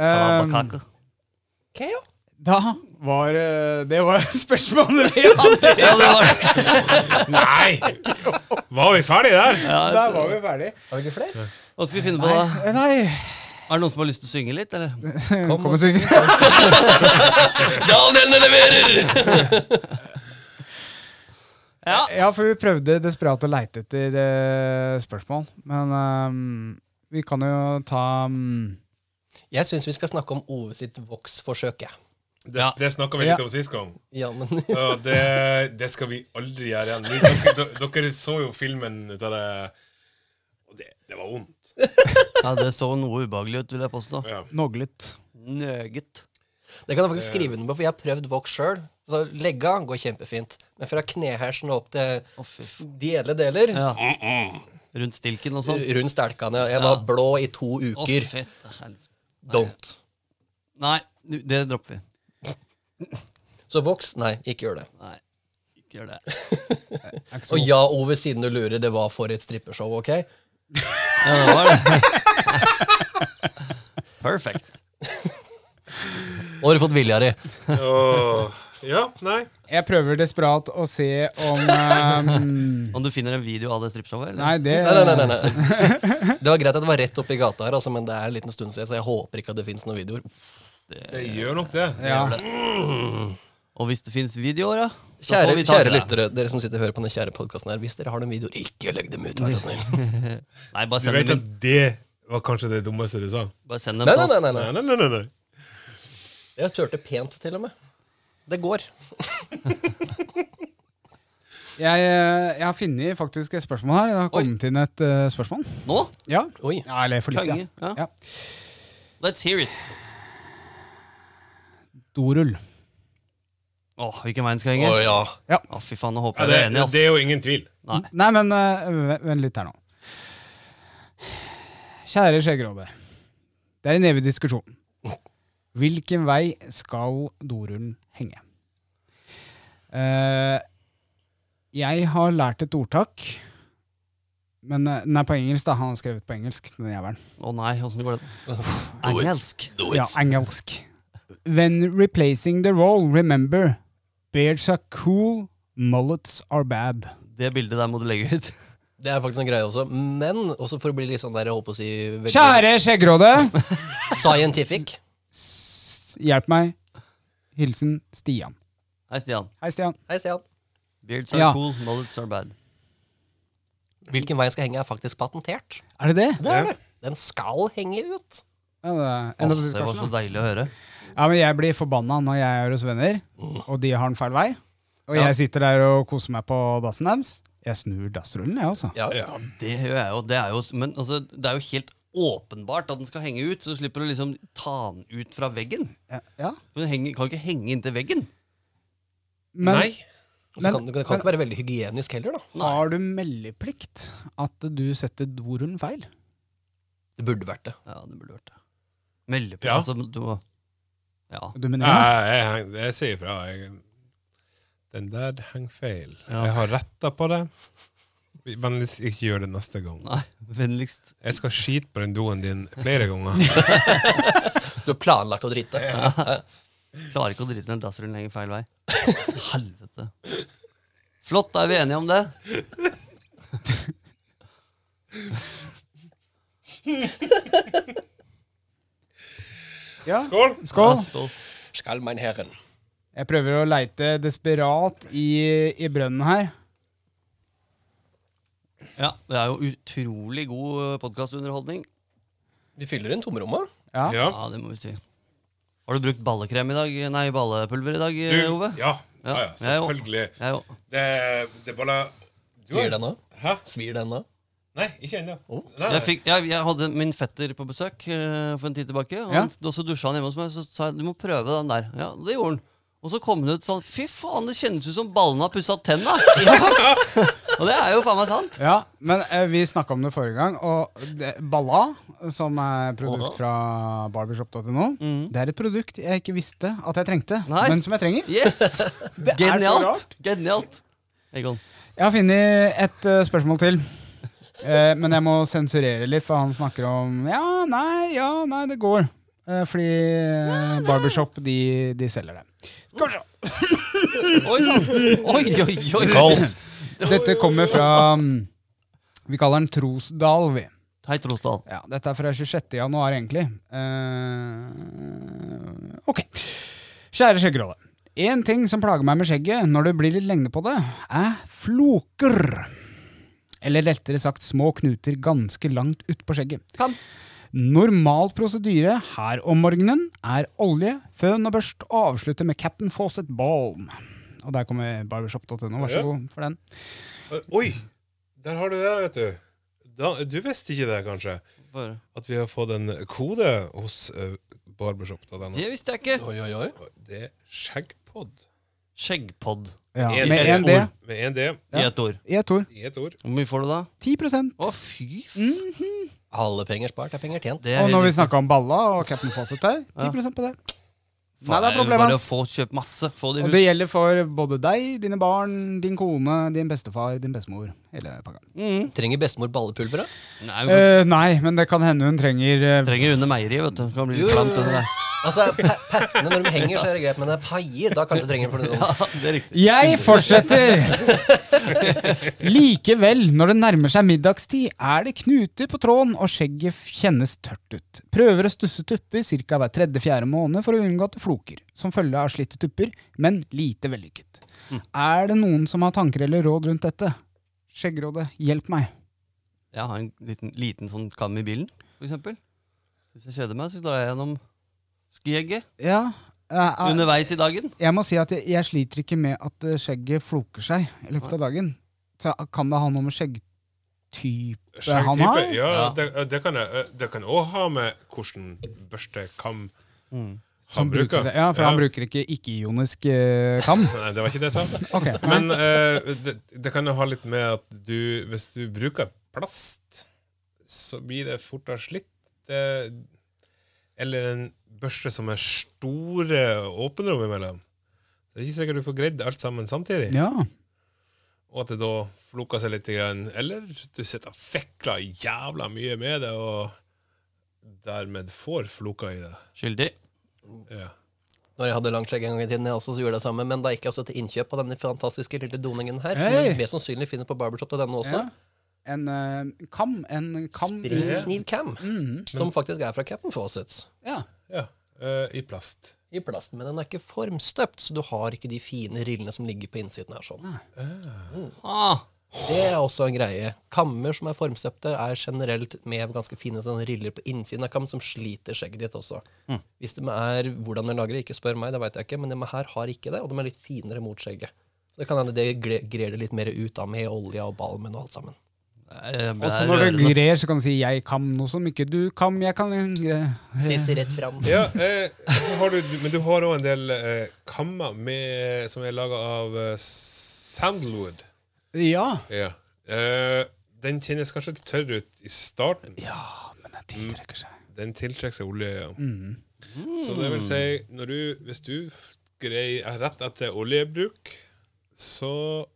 Speaker 3: ehm,
Speaker 6: Kalabakake.
Speaker 3: da var eh, Det var spørsmålet vi hadde!
Speaker 6: Ja, det var det.
Speaker 5: Nei! Var vi ferdige der?
Speaker 3: Der var vi ferdig.
Speaker 4: Har vi ikke flere?
Speaker 6: Hva skal vi finne på da?
Speaker 3: Eh, Nei
Speaker 6: Er det noen som har lyst til å synge litt, eller?
Speaker 3: Kom og syng.
Speaker 4: Daniel leverer!
Speaker 6: Ja.
Speaker 3: Ja, for vi prøvde desperat å leite etter eh, spørsmål. Men ehm, vi kan jo ta mm,
Speaker 4: Jeg syns vi skal snakke om Ove sitt voksforsøk, jeg.
Speaker 5: Det, det snakka vi
Speaker 3: Ja.
Speaker 5: litt om sist gang.
Speaker 4: Ja, men
Speaker 5: Og det, det skal vi aldri gjøre igjen. Vi- Dere, dere, dere så jo filmen ut av det Og det, det var vondt.
Speaker 6: ja, det så noe ubehagelig ut, vil jeg påstå.
Speaker 5: Ja.
Speaker 3: Noglet.
Speaker 6: Nøget.
Speaker 4: Det kan jeg faktisk skrive under på, for jeg har prøvd Vox sjøl. Så legga går kjempefint, men fra knehersen og opp til
Speaker 6: Å, fy faen.
Speaker 4: dele deler
Speaker 6: Ja. Rundt stilken og sånn.
Speaker 4: Rundt stelkene. Jeg var
Speaker 6: Ja.
Speaker 4: blå i to
Speaker 6: Å,
Speaker 4: uker.
Speaker 6: fette helvete.
Speaker 4: Don't.
Speaker 6: Nei, nu- det dropper vi.
Speaker 4: Så Vox, nei, ikke gjør det.
Speaker 6: Nei, ikke gjør det.
Speaker 3: Er ikke så
Speaker 4: Og ja, Ove, siden du lurer, det var for et strippeshow, OK?
Speaker 6: Ja, det var det. Perfect.
Speaker 4: Nå har du fått vilja di.
Speaker 5: Og, ja, nei.
Speaker 3: Jeg prøver desperat å se om ehm,
Speaker 6: Om du finner en video av det strippshowet, eller?
Speaker 3: Nei, det
Speaker 4: Nei, nei, nei, nei. Det var greit at det var rett oppi gata her, altså, men det er en liten stund siden, så jeg håper ikke at det fins noen videoer.
Speaker 5: Det gjør nok det.
Speaker 3: Ja.
Speaker 6: Og hvis det finnes videoer, ja, så
Speaker 4: Kjære,
Speaker 6: får vi ta
Speaker 4: kjære
Speaker 6: det.
Speaker 4: lyttere, dere som sitter og hører på den kjære podkasten her, hvis dere har noen videoer, ikke legg dem ut, vær så snill. Nei,
Speaker 6: Nei, bare
Speaker 5: Du
Speaker 6: send
Speaker 5: vet
Speaker 6: dem
Speaker 5: at
Speaker 6: inn.
Speaker 5: det var kanskje det dummeste du sa?
Speaker 6: Bare send dem
Speaker 4: nei,
Speaker 6: til
Speaker 4: nei.
Speaker 6: oss.
Speaker 4: nei, nei.
Speaker 5: Nei, nei, nei, nei, nei.
Speaker 4: Jeg turte pent, til og med. Det går.
Speaker 3: Jeg, eh, jeg har funnet faktisk et spørsmål her. Det har kommet inn et eh, spørsmål.
Speaker 6: Nå?
Speaker 3: Ja.
Speaker 4: Oi.
Speaker 3: ja, eller for litt
Speaker 6: Konge.
Speaker 3: siden.
Speaker 6: Ja.
Speaker 3: Ja.
Speaker 6: Let's hear it.
Speaker 3: Dorull.
Speaker 6: Åh, hvilken veien skal
Speaker 4: Å
Speaker 6: jeg henge?
Speaker 4: ja.
Speaker 6: Å, fy faen, nå håper
Speaker 5: Ja,
Speaker 6: jeg dere er
Speaker 5: det,
Speaker 6: enig, ass.
Speaker 5: det er jo ingen tvil.
Speaker 6: Nei.
Speaker 3: Nei, men eh, v- vent litt her nå. Kjære Skjeggråde. Det er en evig diskusjon. Hvilken vei skal dorullen henge? Eh, jeg har lært et ordtak. Men eh, den er på engelsk, da. Han har skrevet på engelsk. Den jævelen.
Speaker 6: Å nei, åssen går det?
Speaker 4: Do it.
Speaker 6: Engelsk.
Speaker 4: Do
Speaker 3: Ja,
Speaker 4: it.
Speaker 3: engelsk. When replacing the role, remember beards are cool, mullets are bad.
Speaker 6: Det bildet der må du legge ut.
Speaker 4: Det er faktisk en greie også. Men også for å bli litt sånn der, jeg holdt på å si veldig
Speaker 3: Kjære Skjeggråde!
Speaker 4: Scientific.
Speaker 3: S- Hjelp meg. Hilsen Stian.
Speaker 6: Hei, Stian.
Speaker 3: Hei, Stian.
Speaker 4: Hei, Stian.
Speaker 6: Beards are
Speaker 3: Ja.
Speaker 6: cool, mullets are bad.
Speaker 4: Hvilken vei jeg skal henge, er faktisk patentert.
Speaker 3: Er det det?
Speaker 4: Det er det. Den skal henge ut.
Speaker 3: Ja, det er
Speaker 6: Åh,
Speaker 3: enda på
Speaker 6: det var så
Speaker 3: diskusjonen, da.
Speaker 6: deilig å høre.
Speaker 3: ja, men jeg blir forbanna når jeg er hos venner, og de har en feil vei. Og
Speaker 6: Ja.
Speaker 3: jeg sitter der og koser meg på dassen deres. Jeg snur dassrullen, jeg, altså.
Speaker 4: Ja.
Speaker 5: Ja.
Speaker 6: Det gjør jeg jo. Det er jo, men altså, det er jo helt åpenbart at den skal henge ut, så du slipper å liksom ta den ut fra veggen.
Speaker 3: Ja. Ja.
Speaker 6: For Den henger, kan ikke henge inntil veggen.
Speaker 3: Men
Speaker 5: Nei.
Speaker 4: Og så
Speaker 3: Men-
Speaker 4: kan, det kan ikke være veldig hygienisk heller, da.
Speaker 3: har du meldeplikt at du setter dorullen feil?
Speaker 4: Det burde vært det.
Speaker 6: Ja, det burde vært det. Melde på,
Speaker 5: Ja.
Speaker 6: altså. Du må Ja.
Speaker 3: Du mener, ja.
Speaker 5: Jeg, jeg, heng- jeg sier ifra. Jeg, den der henger feil.
Speaker 6: Ja.
Speaker 5: Jeg har retta på det. Vennligst ikke gjør det neste gang.
Speaker 6: Nei, vennligst.
Speaker 5: Jeg skal skite på den doen din flere ganger.
Speaker 4: Du har planlagt å drite.
Speaker 6: Klarer ikke å drite når dassrullen henger feil vei. Helvete. Flott, da er vi enige om det.
Speaker 5: Skål!
Speaker 3: Skål!
Speaker 6: Skål.
Speaker 4: Skal mein herren.
Speaker 3: Jeg prøver å leite desperat i, i brønnen her.
Speaker 6: Ja, det er jo utrolig god eh, podkastunderholdning.
Speaker 4: Vi fyller inn tomrommet.
Speaker 3: Ja.
Speaker 5: Ja.
Speaker 6: Ja, det må vi si. Har du brukt ballekrem i dag? Nei, ballepulver i dag, eh,
Speaker 5: Du,
Speaker 6: Ove?
Speaker 5: ja, ja, ja,
Speaker 6: Ja, jeg òg.
Speaker 5: selvfølgelig.
Speaker 6: Jeg òg.
Speaker 5: Det, det er bare Du
Speaker 4: Svir
Speaker 5: har-
Speaker 4: den nå?
Speaker 5: Hæ?
Speaker 4: Svir den nå?
Speaker 5: Nei, ikke ennå. Nei,
Speaker 6: Jeg, fikk, jeg, jeg hadde min fetter på besøk eh, for en tid tilbake. Og
Speaker 3: Ja.
Speaker 6: han, og så dusja han hjemme hos meg, så sa jeg du må prøve den der. Ja, det gjorde han. Og så kom han ut sånn Fy faen, det kjennes ut som ballene har pussa tenna! og det er jo faen meg sant.
Speaker 3: Ja, men eh, vi snakka om det forrige gang, og det, Balla, som er produkt fra barbershop.no, det er et produkt jeg ikke visste at jeg trengte,
Speaker 6: Nei.
Speaker 3: men som jeg trenger.
Speaker 6: Yes!
Speaker 3: er så
Speaker 6: Genialt!
Speaker 3: rart.
Speaker 6: Genialt. Egon.
Speaker 3: Jeg har funnet et eh, spørsmål til. Eh, men jeg må sensurere litt, for han snakker om Ja, nei, ja, nei, det går. Eh, fordi eh, barbershop, de, de selger det. Skal vi se.
Speaker 6: Oi sann! Oi, oi, oi.
Speaker 3: Dette kommer fra mm, Vi kaller den Trosdal, vi.
Speaker 6: Hei, Trosdal.
Speaker 3: Ja, dette er fra 26. januar, egentlig. Eh, ok. Kjære skjeggeråde. En ting som plager meg med skjegget når det blir litt lengde på det, er floker. Eller lettere sagt små knuter ganske langt utpå skjegget.
Speaker 4: Kan.
Speaker 3: Normal prosedyre her om morgenen er olje, føn og børst, og avslutte med Captain Fawcett Balm. Og der kommer barbershop.no, vær så
Speaker 5: Ja.
Speaker 3: god for den.
Speaker 5: Oi! Der har du det, vet du. Da, du visste ikke det, kanskje?
Speaker 6: Bare-
Speaker 5: At vi har fått en kode hos eh, Barbershop. Da, den.
Speaker 6: Det visste jeg ikke.
Speaker 4: Oi, oi, oi.
Speaker 5: Det er skjeggpod.
Speaker 6: Skjeggpod
Speaker 3: Ja,
Speaker 5: En-
Speaker 3: med
Speaker 5: en
Speaker 3: en D E,
Speaker 5: Med en D
Speaker 6: i ett ord.
Speaker 3: i et ord.
Speaker 5: i ett ord.
Speaker 6: Hvor mye får du da?
Speaker 3: 10
Speaker 6: Å, fy faen.
Speaker 4: Alle penger spart er penger tjent.
Speaker 3: Og når vi snakka om Balla og Captain Fawcett her, 10 på det. Nei, det er problem,
Speaker 6: Bare
Speaker 3: ass.
Speaker 6: få kjøpt masse. Få det i
Speaker 3: Og
Speaker 6: hus.
Speaker 3: det gjelder for både deg, dine barn, din kone, din bestefar, din bestemor. Hele pakka.
Speaker 6: Mm.
Speaker 4: Trenger bestemor ballepulveret?
Speaker 6: Nei, vi
Speaker 3: Eh, nei, men det kan hende hun trenger eh,
Speaker 6: Trenger under meieriet, vet du. Det Kan bli
Speaker 4: Jo,
Speaker 6: litt
Speaker 4: jo,
Speaker 6: klamt
Speaker 4: jo.
Speaker 6: under der.
Speaker 4: Altså, pa- pattene når de henger, så er det greit, men det er paier. Da kanskje du trenger for sånn. noe sånt.
Speaker 6: Det er riktig.
Speaker 3: Jeg fortsetter! Likevel, når det nærmer seg middagstid, er det knuter på tråden, og skjegget f- kjennes tørt ut. Prøver å stusse tupper ca. hver tredje-fjerde måned for å unngå at det floker, som følge av slitte tupper, men lite vellykket. Er det noen som har tanker eller råd rundt dette? Skjeggrådet, hjelp meg.
Speaker 6: Jeg har en liten, liten sånn kam i bilen, for eksempel. Hvis jeg kjeder meg, så drar jeg gjennom skjegget.
Speaker 3: Ja, eh, eh,
Speaker 6: underveis i dagen.
Speaker 3: jeg må si at jeg, jeg sliter ikke med at eh, skjegget floker seg i løpet av dagen. Så kan det ha noe med skjeggtype han har?
Speaker 5: Skjeggtype, Ja, det, det kan jeg. eh, Det kan òg ha med hvordan børste kam han
Speaker 3: Som bruker
Speaker 5: bruker.
Speaker 3: det. Ja, for han bruker ikke ikke-ionisk eh, kam.
Speaker 5: Nei, det var ikke det jeg sa.
Speaker 3: Ok.
Speaker 5: Men eh, det, det kan jo ha litt med at du, hvis du bruker plast, så blir det fortere slitt. Det, eh, eller en børste som er store åpenrom imellom. Så det er ikke sikkert du får greid alt sammen samtidig.
Speaker 3: Ja.
Speaker 5: Og at det da floker seg litt. Grann. Eller du sitter og fikler jævla mye med det, og dermed får floker i det.
Speaker 6: Skyldig.
Speaker 5: Ja.
Speaker 4: Når jeg hadde langt skjegg en gang i tiden, jeg også, så gjorde jeg det samme. Men da gikk jeg også til innkjøp av denne fantastiske lille doningen her. Som
Speaker 3: Hei!
Speaker 4: du mest sannsynlig finner på barbershop til denne også.
Speaker 3: ja. En eh, kam. En kam i-
Speaker 4: Springkniv Cam,
Speaker 3: Mm.
Speaker 4: som faktisk er fra Captain Fawcett.
Speaker 3: Ja.
Speaker 5: ja. Eh, I plast.
Speaker 4: I plasten, men den er ikke formstøpt, så du har ikke de fine rillene som ligger på innsiden her. sånn.
Speaker 6: Ah,
Speaker 4: Det er også en greie. Kammer som er formstøpte, er generelt med ganske fine sånne riller på innsiden av kam som sliter skjegget ditt også. Hvis de er hvordan de lagrer, ikke spør meg, det veit jeg ikke, men de her har ikke det, og de er litt finere mot skjegget. Så det kan hende det gre- grer det litt mer ut da, med olja og balmen og alt sammen.
Speaker 6: jeg ble
Speaker 3: Og så når du
Speaker 6: rørende.
Speaker 3: grer, så kan du si 'jeg kam' noe som ikke du kam, jeg kan gre.
Speaker 4: Tisser rett fram.
Speaker 5: Ja, eh, så har du, men du har òg en del eh, kammer med, som er laga av eh, sandalwood.
Speaker 3: Ja.
Speaker 5: Ja. Eh, den kjennes kanskje litt tørr ut i starten.
Speaker 3: ja, men den tiltrekker seg.
Speaker 5: Den tiltrekker seg olje. Ja. Så det vil si, når du, hvis du greier rett etter oljebruk, så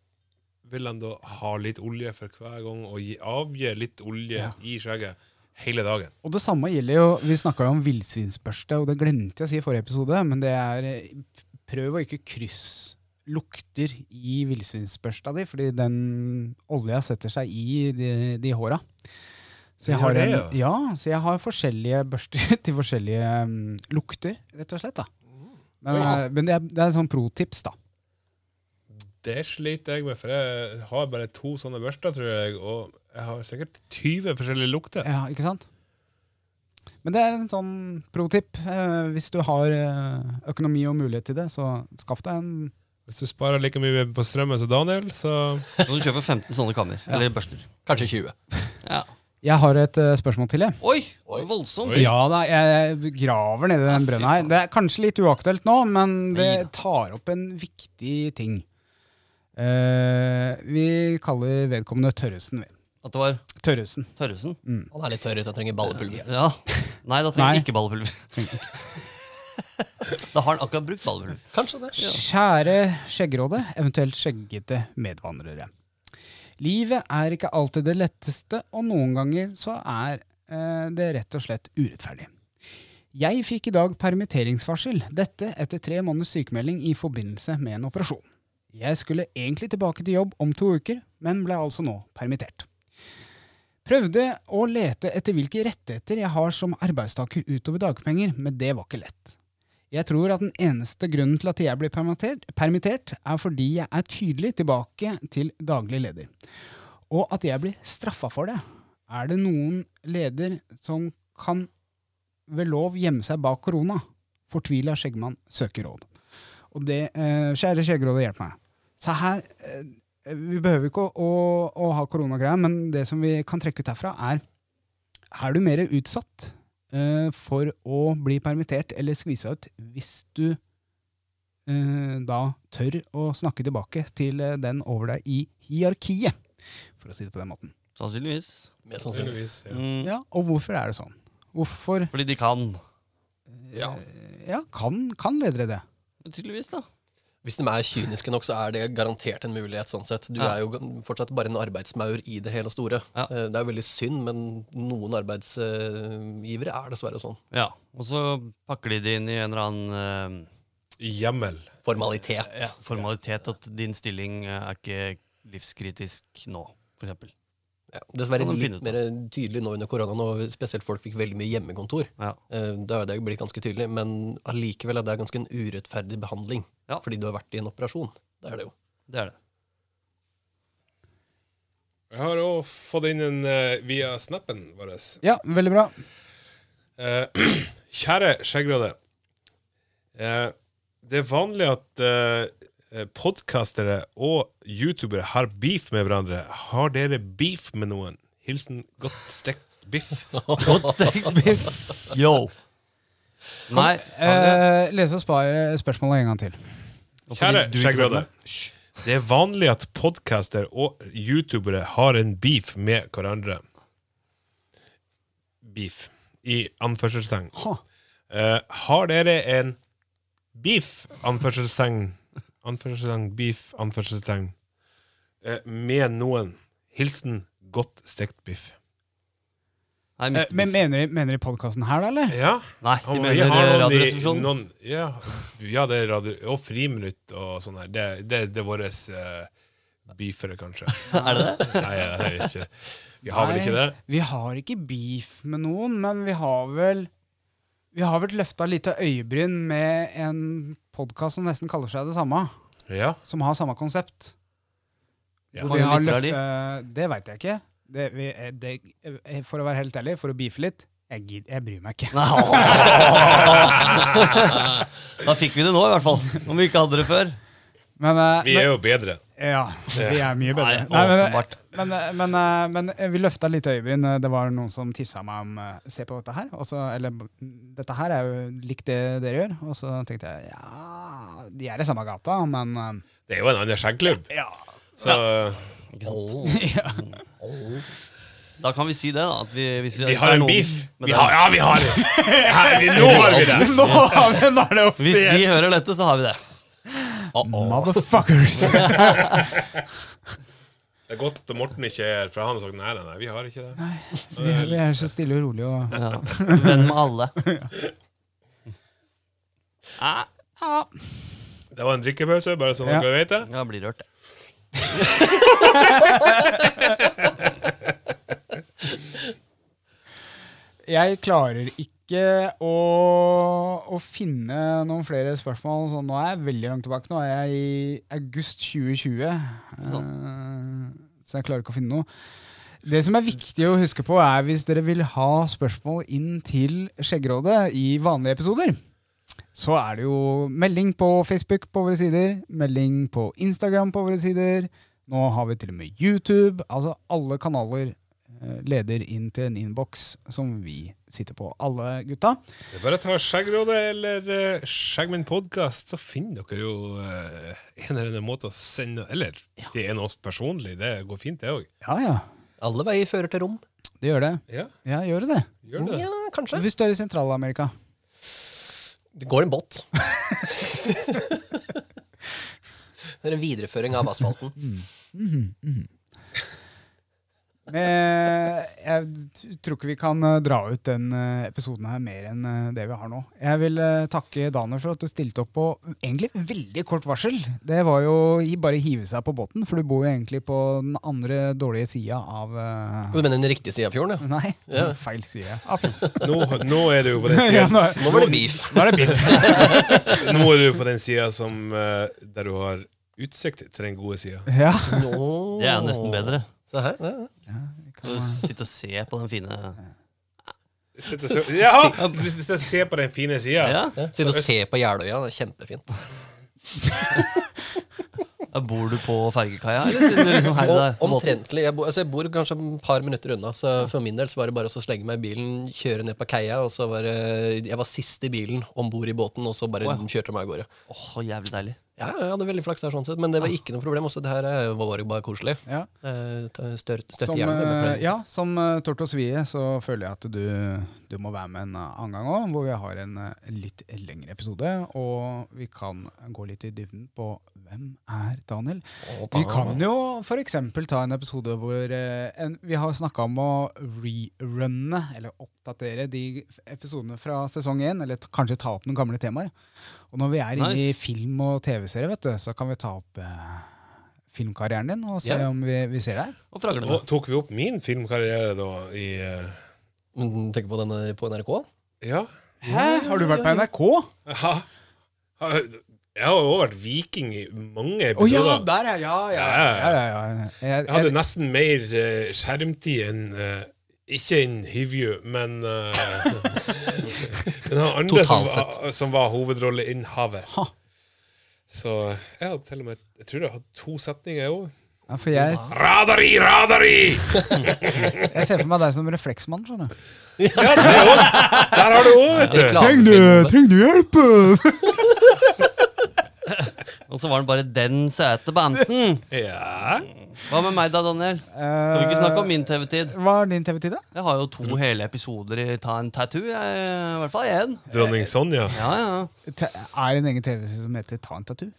Speaker 5: vil han da ha litt olje for hver gang og gi, avgi litt olje i skjegget hele dagen.
Speaker 3: Og det samme gjelder jo Vi snakka jo om villsvinsbørste, og det glemte jeg å si i forrige episode, men det er eh, Prøv å ikke kryss lukter i villsvinsbørsta di, fordi den olja setter seg i de, de håra. Så jeg,
Speaker 5: Gjør
Speaker 3: har
Speaker 5: det,
Speaker 3: en,
Speaker 5: ja.
Speaker 3: ja, så jeg har forskjellige børster til forskjellige mm, lukter, rett og slett. da. Men, eh, men det, er, det er sånn pro-tips, da.
Speaker 5: Det sliter jeg med, for jeg har bare to sånne børster, tror jeg. Og jeg har sikkert 20 forskjellige lukter.
Speaker 3: Ja, ikke sant? Men det er en sånn pro-tip. Eh, hvis du har eh, økonomi og mulighet til det, så skaff deg en
Speaker 5: Hvis du sparer like mye på strømmen som Daniel, så
Speaker 6: Kan du kjøpe 15 sånne kammer? Eller børster.
Speaker 4: Kanskje 20.
Speaker 6: Ja.
Speaker 3: Jeg har et eh, spørsmål til, jeg.
Speaker 6: Oi! det var Voldsomt.
Speaker 5: Oi.
Speaker 3: Ja da, jeg graver nedi den
Speaker 6: fy
Speaker 3: brønnen her.
Speaker 6: faen.
Speaker 3: Det er kanskje litt uaktuelt nå, men
Speaker 6: Neida.
Speaker 3: det tar opp en viktig ting. Eh, vi kaller vedkommende Tørresen. vi.
Speaker 6: At det var
Speaker 3: Tørresen.
Speaker 6: Tørresen.
Speaker 4: Han er litt tørr ut, han trenger ballepulver.
Speaker 6: Ja. Nei, da trenger
Speaker 3: Nei.
Speaker 6: jeg ikke ballepulver. da har han akkurat brukt ballepulver.
Speaker 4: Kanskje det.
Speaker 3: Kjære skjeggråde, eventuelt skjeggete medvandrere. Livet er ikke alltid det letteste, og noen ganger så er eh, det rett og slett urettferdig. Jeg fikk i dag permitteringsvarsel, dette etter tre måneders sykemelding i forbindelse med en operasjon. Jeg skulle egentlig tilbake til jobb om to uker, men ble altså nå permittert. Prøvde å lete etter hvilke rettigheter jeg har som arbeidstaker utover dagpenger, men det var ikke lett. Jeg tror at den eneste grunnen til at jeg blir permittert, permittert, er fordi jeg er tydelig tilbake til daglig leder. Og at jeg blir straffa for det. Er det noen leder som kan ved lov gjemme seg bak korona? Fortvila skjeggmann søker råd. Og det, eh, Kjære skjeggrådet, hjelp meg. Så her, eh, Vi behøver ikke å, å, å ha koronagreier, men det som vi kan trekke ut herfra, er Er du mer utsatt eh, for å bli permittert eller skvisa ut hvis du eh, da tør å snakke tilbake til eh, den over deg i hierarkiet, for å si det på den måten.
Speaker 6: Sannsynligvis.
Speaker 4: Mest sannsynlig.
Speaker 5: sannsynligvis. Ja.
Speaker 6: Mm.
Speaker 3: Ja, Og hvorfor er det sånn? Hvorfor
Speaker 6: Fordi de kan.
Speaker 4: Ja.
Speaker 3: Ja, kan, kan ledere det?
Speaker 6: Tydeligvis, da.
Speaker 4: Hvis de er kyniske nok, så er det garantert en mulighet. sånn sett. Du
Speaker 6: Ja.
Speaker 4: er jo fortsatt bare en arbeidsmaur i det hele og store.
Speaker 6: Ja.
Speaker 4: Eh, Det er jo veldig synd, men noen arbeidsgivere er dessverre sånn.
Speaker 6: Ja. Og så pakker de det inn i en eller annen
Speaker 5: Jammel.
Speaker 4: Formalitet.
Speaker 6: eh, formalitet at din stilling eh, er ikke livskritisk nå, for eksempel.
Speaker 4: Ja, Dessverre
Speaker 6: Kan de
Speaker 4: litt
Speaker 6: finne ut
Speaker 4: mer tydelig nå under koronaen, og spesielt folk fikk veldig mye hjemmekontor.
Speaker 6: Ja.
Speaker 4: Eh, Da er det jo blitt ganske tydelig, men allikevel er det ganske en urettferdig behandling.
Speaker 6: Ja.
Speaker 4: Fordi du har vært i en operasjon. Det er det jo.
Speaker 6: Det er det.
Speaker 5: Jeg har òg fått inn en eh, via snappen vår.
Speaker 3: Ja, veldig bra.
Speaker 5: Eh, kjære skjeggråde. Eh, det er vanlig at eh, podkastere og youtubere har beef med hverandre. Har dere beef med noen? Hilsen godt stekt biff.
Speaker 6: Yo. Nei,
Speaker 3: Eh, lese og spare spørsmålet en gang til.
Speaker 5: Kjære skjeggrøde. Det er vanlig at podcaster og youtubere har en beef med hverandre. Beef. I anførselstegn.
Speaker 3: Ha.
Speaker 5: Eh, har dere en beef? Anførselstegn. Anførselstegn, beef, anførselstegn. Eh, med noen. Hilsen godt stekt biff.
Speaker 6: nei,
Speaker 3: Eh, men
Speaker 6: Mr. Beef.
Speaker 3: mener de, mener de podkasten her, da, eller?
Speaker 5: Ja,
Speaker 6: nei de
Speaker 5: han- vi
Speaker 6: mener
Speaker 5: har noen i- eh,
Speaker 6: Radioresepsjonen.
Speaker 5: noen- Ja, ja, det er radio, og Friminutt og sånn her. Det, det, det er våre beefere, kanskje.
Speaker 6: Er det det?
Speaker 5: Nei, det er ikke. Vi har vel ikke det?
Speaker 3: Nei, Vi har ikke beef med noen, men vi har vel Vi har vel løfta lite øyebryn med en podkast som nesten kaller seg det samme,
Speaker 5: Ja.
Speaker 3: som har samme konsept.
Speaker 5: Ja.
Speaker 3: Og
Speaker 6: Hvor
Speaker 3: vi
Speaker 6: mange
Speaker 3: har
Speaker 6: lyttere er
Speaker 3: løftet, det veit jeg ikke. Det, vi, eh, det, eh, for å være helt ærlig, for å beefe litt jeg, gid, jeg bryr meg ikke.
Speaker 6: Da fikk vi det nå, i hvert fall. Om vi ikke hadde det før.
Speaker 3: Men, eh,
Speaker 5: Vi er jo bedre.
Speaker 3: men Ja, vi er mye bedre.
Speaker 6: Nei,
Speaker 3: men, eh,
Speaker 6: åpenbart.
Speaker 3: men, eh, men, eh, men eh, vi løfta litt øyebryn. Eh, Det var noen som tipsa meg om eh, Se på dette her. Og så- eller mm, dette her er jo likt det dere gjør. Og så tenkte jeg ja, de er i samme gata, men eh,
Speaker 5: Det er jo en annen skjeggklubb.
Speaker 3: ja.
Speaker 5: Så
Speaker 6: Da kan vi si det, da. At vi, hvis vi,
Speaker 5: vi
Speaker 6: hvis det
Speaker 5: har
Speaker 6: er
Speaker 5: en
Speaker 6: noen
Speaker 5: beef.
Speaker 6: med
Speaker 5: Vi
Speaker 6: den-
Speaker 5: har, ja, vi har Her, vi, Nå har vi det!
Speaker 3: Nå har vi nå er det
Speaker 6: Hvis de
Speaker 3: offisielt!
Speaker 6: hører dette, så har vi det.
Speaker 3: Motherfuckers!
Speaker 5: Det er godt at Morten ikke er her, for han har sagt nei, nei, nei, vi har ikke det.
Speaker 3: Vi, vi er så stille og rolig og
Speaker 6: Ja. Venn med alle. Ah,
Speaker 5: Det var en drikkepause, bare sånn
Speaker 3: Ja.
Speaker 5: at dere vet det.
Speaker 6: Jeg blir rørt, jeg.
Speaker 3: Jeg klarer ikke å, å finne noen flere spørsmål. Så nå er jeg veldig langt tilbake. Nå er jeg i august 2020. eh, så jeg klarer ikke å finne noe. Det som er viktig å huske på, er hvis dere vil ha spørsmål inn til Skjeggrådet i vanlige episoder, så er det jo melding på Facebook på våre sider, melding på Instagram på våre sider. Nå har vi til og med YouTube. Altså alle kanaler eh, leder inn til en innboks som vi sitter på, alle gutta.
Speaker 5: Det er bare å ta Skjeggrådet eller uh, Skjegg min podkast, så finner dere jo eh, en eller annen måte å sende Eller det er noe personlig, det går fint, det òg.
Speaker 3: Ja, ja.
Speaker 4: Alle veier fører til rom.
Speaker 3: Det gjør det.
Speaker 5: Ja,
Speaker 3: Ja, gjør det det.
Speaker 5: gjør det.
Speaker 4: Ja, kanskje.
Speaker 3: Hvis du er i Sentral-Amerika.
Speaker 4: Det går en båt. det er en videreføring av asfalten.
Speaker 3: Men eh, jeg t- tror ikke vi kan eh, dra ut den eh, episoden her mer enn eh, det vi har nå. Jeg vil eh, takke Daniel for at du stilte opp på egentlig veldig kort varsel. Det var jo i- bare hive seg på båten, for du bor jo egentlig på den andre dårlige sida av eh,
Speaker 4: Du mener den riktige sida av fjorden, ja?
Speaker 3: Nei,
Speaker 4: Ja.
Speaker 3: feil side. av fjorden.
Speaker 5: Nå, nå er det jo på den
Speaker 3: Ja,
Speaker 5: siden
Speaker 3: nå,
Speaker 4: Nå var det beef.
Speaker 3: nå er det biff.
Speaker 5: Nå er du på den sida som eh, Der du har utsikt til den gode sida.
Speaker 3: Ja.
Speaker 6: Det er jo nesten bedre.
Speaker 4: Se her. ja, ja.
Speaker 6: Kan du sitte og se på den fine
Speaker 5: Sitte og se- Ja! Du sitter og ser på den fine sida.
Speaker 6: Ja,
Speaker 4: Sitte og se på Jeløya. Det er kjempefint.
Speaker 6: Ja, Bor du på fergekaia, eller sitter du liksom her i deg?
Speaker 4: Og omtrentlig. Jeg bor, altså jeg bor kanskje et par minutter unna, så for min del så var det bare å slenge meg i bilen, kjøre ned på kaia, og så var det Jeg var sist i bilen om bord i båten, og så bare
Speaker 6: Wow.
Speaker 4: kjørte meg av gårde.
Speaker 6: Åh, jævlig deilig.
Speaker 4: Ja, jeg hadde veldig flaks der, sånn sett, men det var ikke noe problem. Også det her eh, var jo bare koselig.
Speaker 3: Ja.
Speaker 4: Eh, ta- stør- Støtte
Speaker 3: Som,
Speaker 4: hjernen. det
Speaker 3: eh,
Speaker 4: ble-
Speaker 3: ja, som eh, Tort og Svie så føler jeg at du, du må være med en eh, annen gang òg, hvor vi har en eh, litt lengre episode. Og vi kan gå litt i dybden på hvem er Daniel. Vi kan jo f.eks. ta en episode hvor eh, en, vi har snakka om å rerunne, eller oppdatere, de f- episodene fra sesong én. Eller t- kanskje ta opp noen gamle temaer. Og når vi er inne i
Speaker 6: Nice.
Speaker 3: film og TV-serie, vet du, så kan vi ta opp eh, filmkarrieren din og se
Speaker 4: Ja.
Speaker 3: om vi, vi ser deg.
Speaker 6: Og fraglene.
Speaker 5: Og tok vi opp min filmkarriere da i eh,
Speaker 4: Men Tenk på den eh, på NRK.
Speaker 5: Ja.
Speaker 3: Hæ? Har du vært på NRK? Å
Speaker 5: Ha. Ha, Jeg har jo også vært viking i mange episoder.
Speaker 3: der er ja,
Speaker 5: Ja,
Speaker 3: Jeg,
Speaker 5: jeg hadde nesten mer eh, skjermtid enn eh, Ikke enn Hivju, men eh, Men han andre som
Speaker 4: Totalt
Speaker 5: var, som var hovedrolleinnehaver.
Speaker 3: Ha.
Speaker 5: Så jeg hadde til og med Jeg tror jeg hadde to setninger, jeg òg.
Speaker 3: Ja, for jeg, s-
Speaker 5: Radari, radari!
Speaker 3: jeg ser for meg deg som refleksmann, skjønner du.
Speaker 5: Ja, det er også. Der har du òg, vet du.
Speaker 4: Reklamefilm.
Speaker 3: hjelp?
Speaker 6: Og så var den bare den søte bamsen.
Speaker 5: Ja.
Speaker 6: Hva med meg da, Daniel? Kan vi ikke snakke om min TV-tid?
Speaker 3: Hva er din TV-tid, da?
Speaker 6: Jeg har jo to hele episoder i Ta en tattoo. Jeg, I hvert fall én.
Speaker 5: Dronning Sonja.
Speaker 6: Ja, ja.
Speaker 3: Te- Er det en egen TV-tid som heter Ta en tattoo?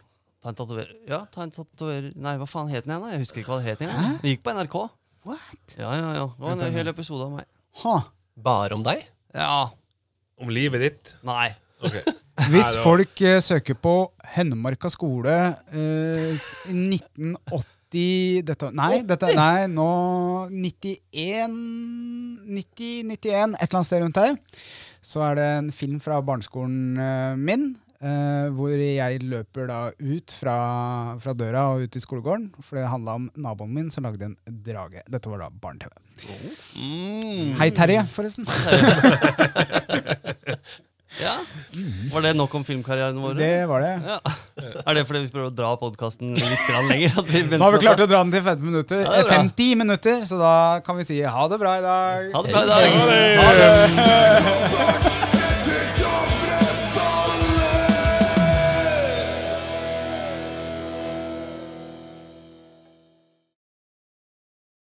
Speaker 6: Ta en tatover... Ja, ta en tatover... Nei, hva faen het den igjen? da? Jeg husker ikke hva det het igjen. Den gikk på NRK.
Speaker 3: What?
Speaker 6: Ja, ja, ja. Det var en hel episode av meg.
Speaker 3: Ha.
Speaker 4: Bare om deg?
Speaker 6: Ja.
Speaker 5: Om livet ditt.
Speaker 6: Nei.
Speaker 5: Ok.
Speaker 3: Hvis
Speaker 5: det var-
Speaker 3: folk eh, søker på Hennemarka skole eh, s- 1980 dette, Nei, dette, nei nå 91 90, 91, et eller annet sted rundt her. Så er det en film fra barneskolen eh, min. eh, hvor jeg løper da ut fra, fra døra og ut i skolegården. For det handla om naboen min som lagde en drage. Dette var da barne-TV. Hei, Terje, forresten.
Speaker 6: Ja. Var det nok om filmkarrieren vår?
Speaker 3: Det var det.
Speaker 6: Ja. Er det fordi vi prøver å dra podkasten litt grann lenger? At vi
Speaker 3: Nå har vi klart å dra den til 50 minutter,
Speaker 6: Ja, det er
Speaker 3: eh,
Speaker 6: bra.
Speaker 3: 50 minutter, så da kan vi si ha det bra i dag.
Speaker 6: Ha det bra i dag.
Speaker 5: Ha det.
Speaker 6: Ha det.
Speaker 2: Bort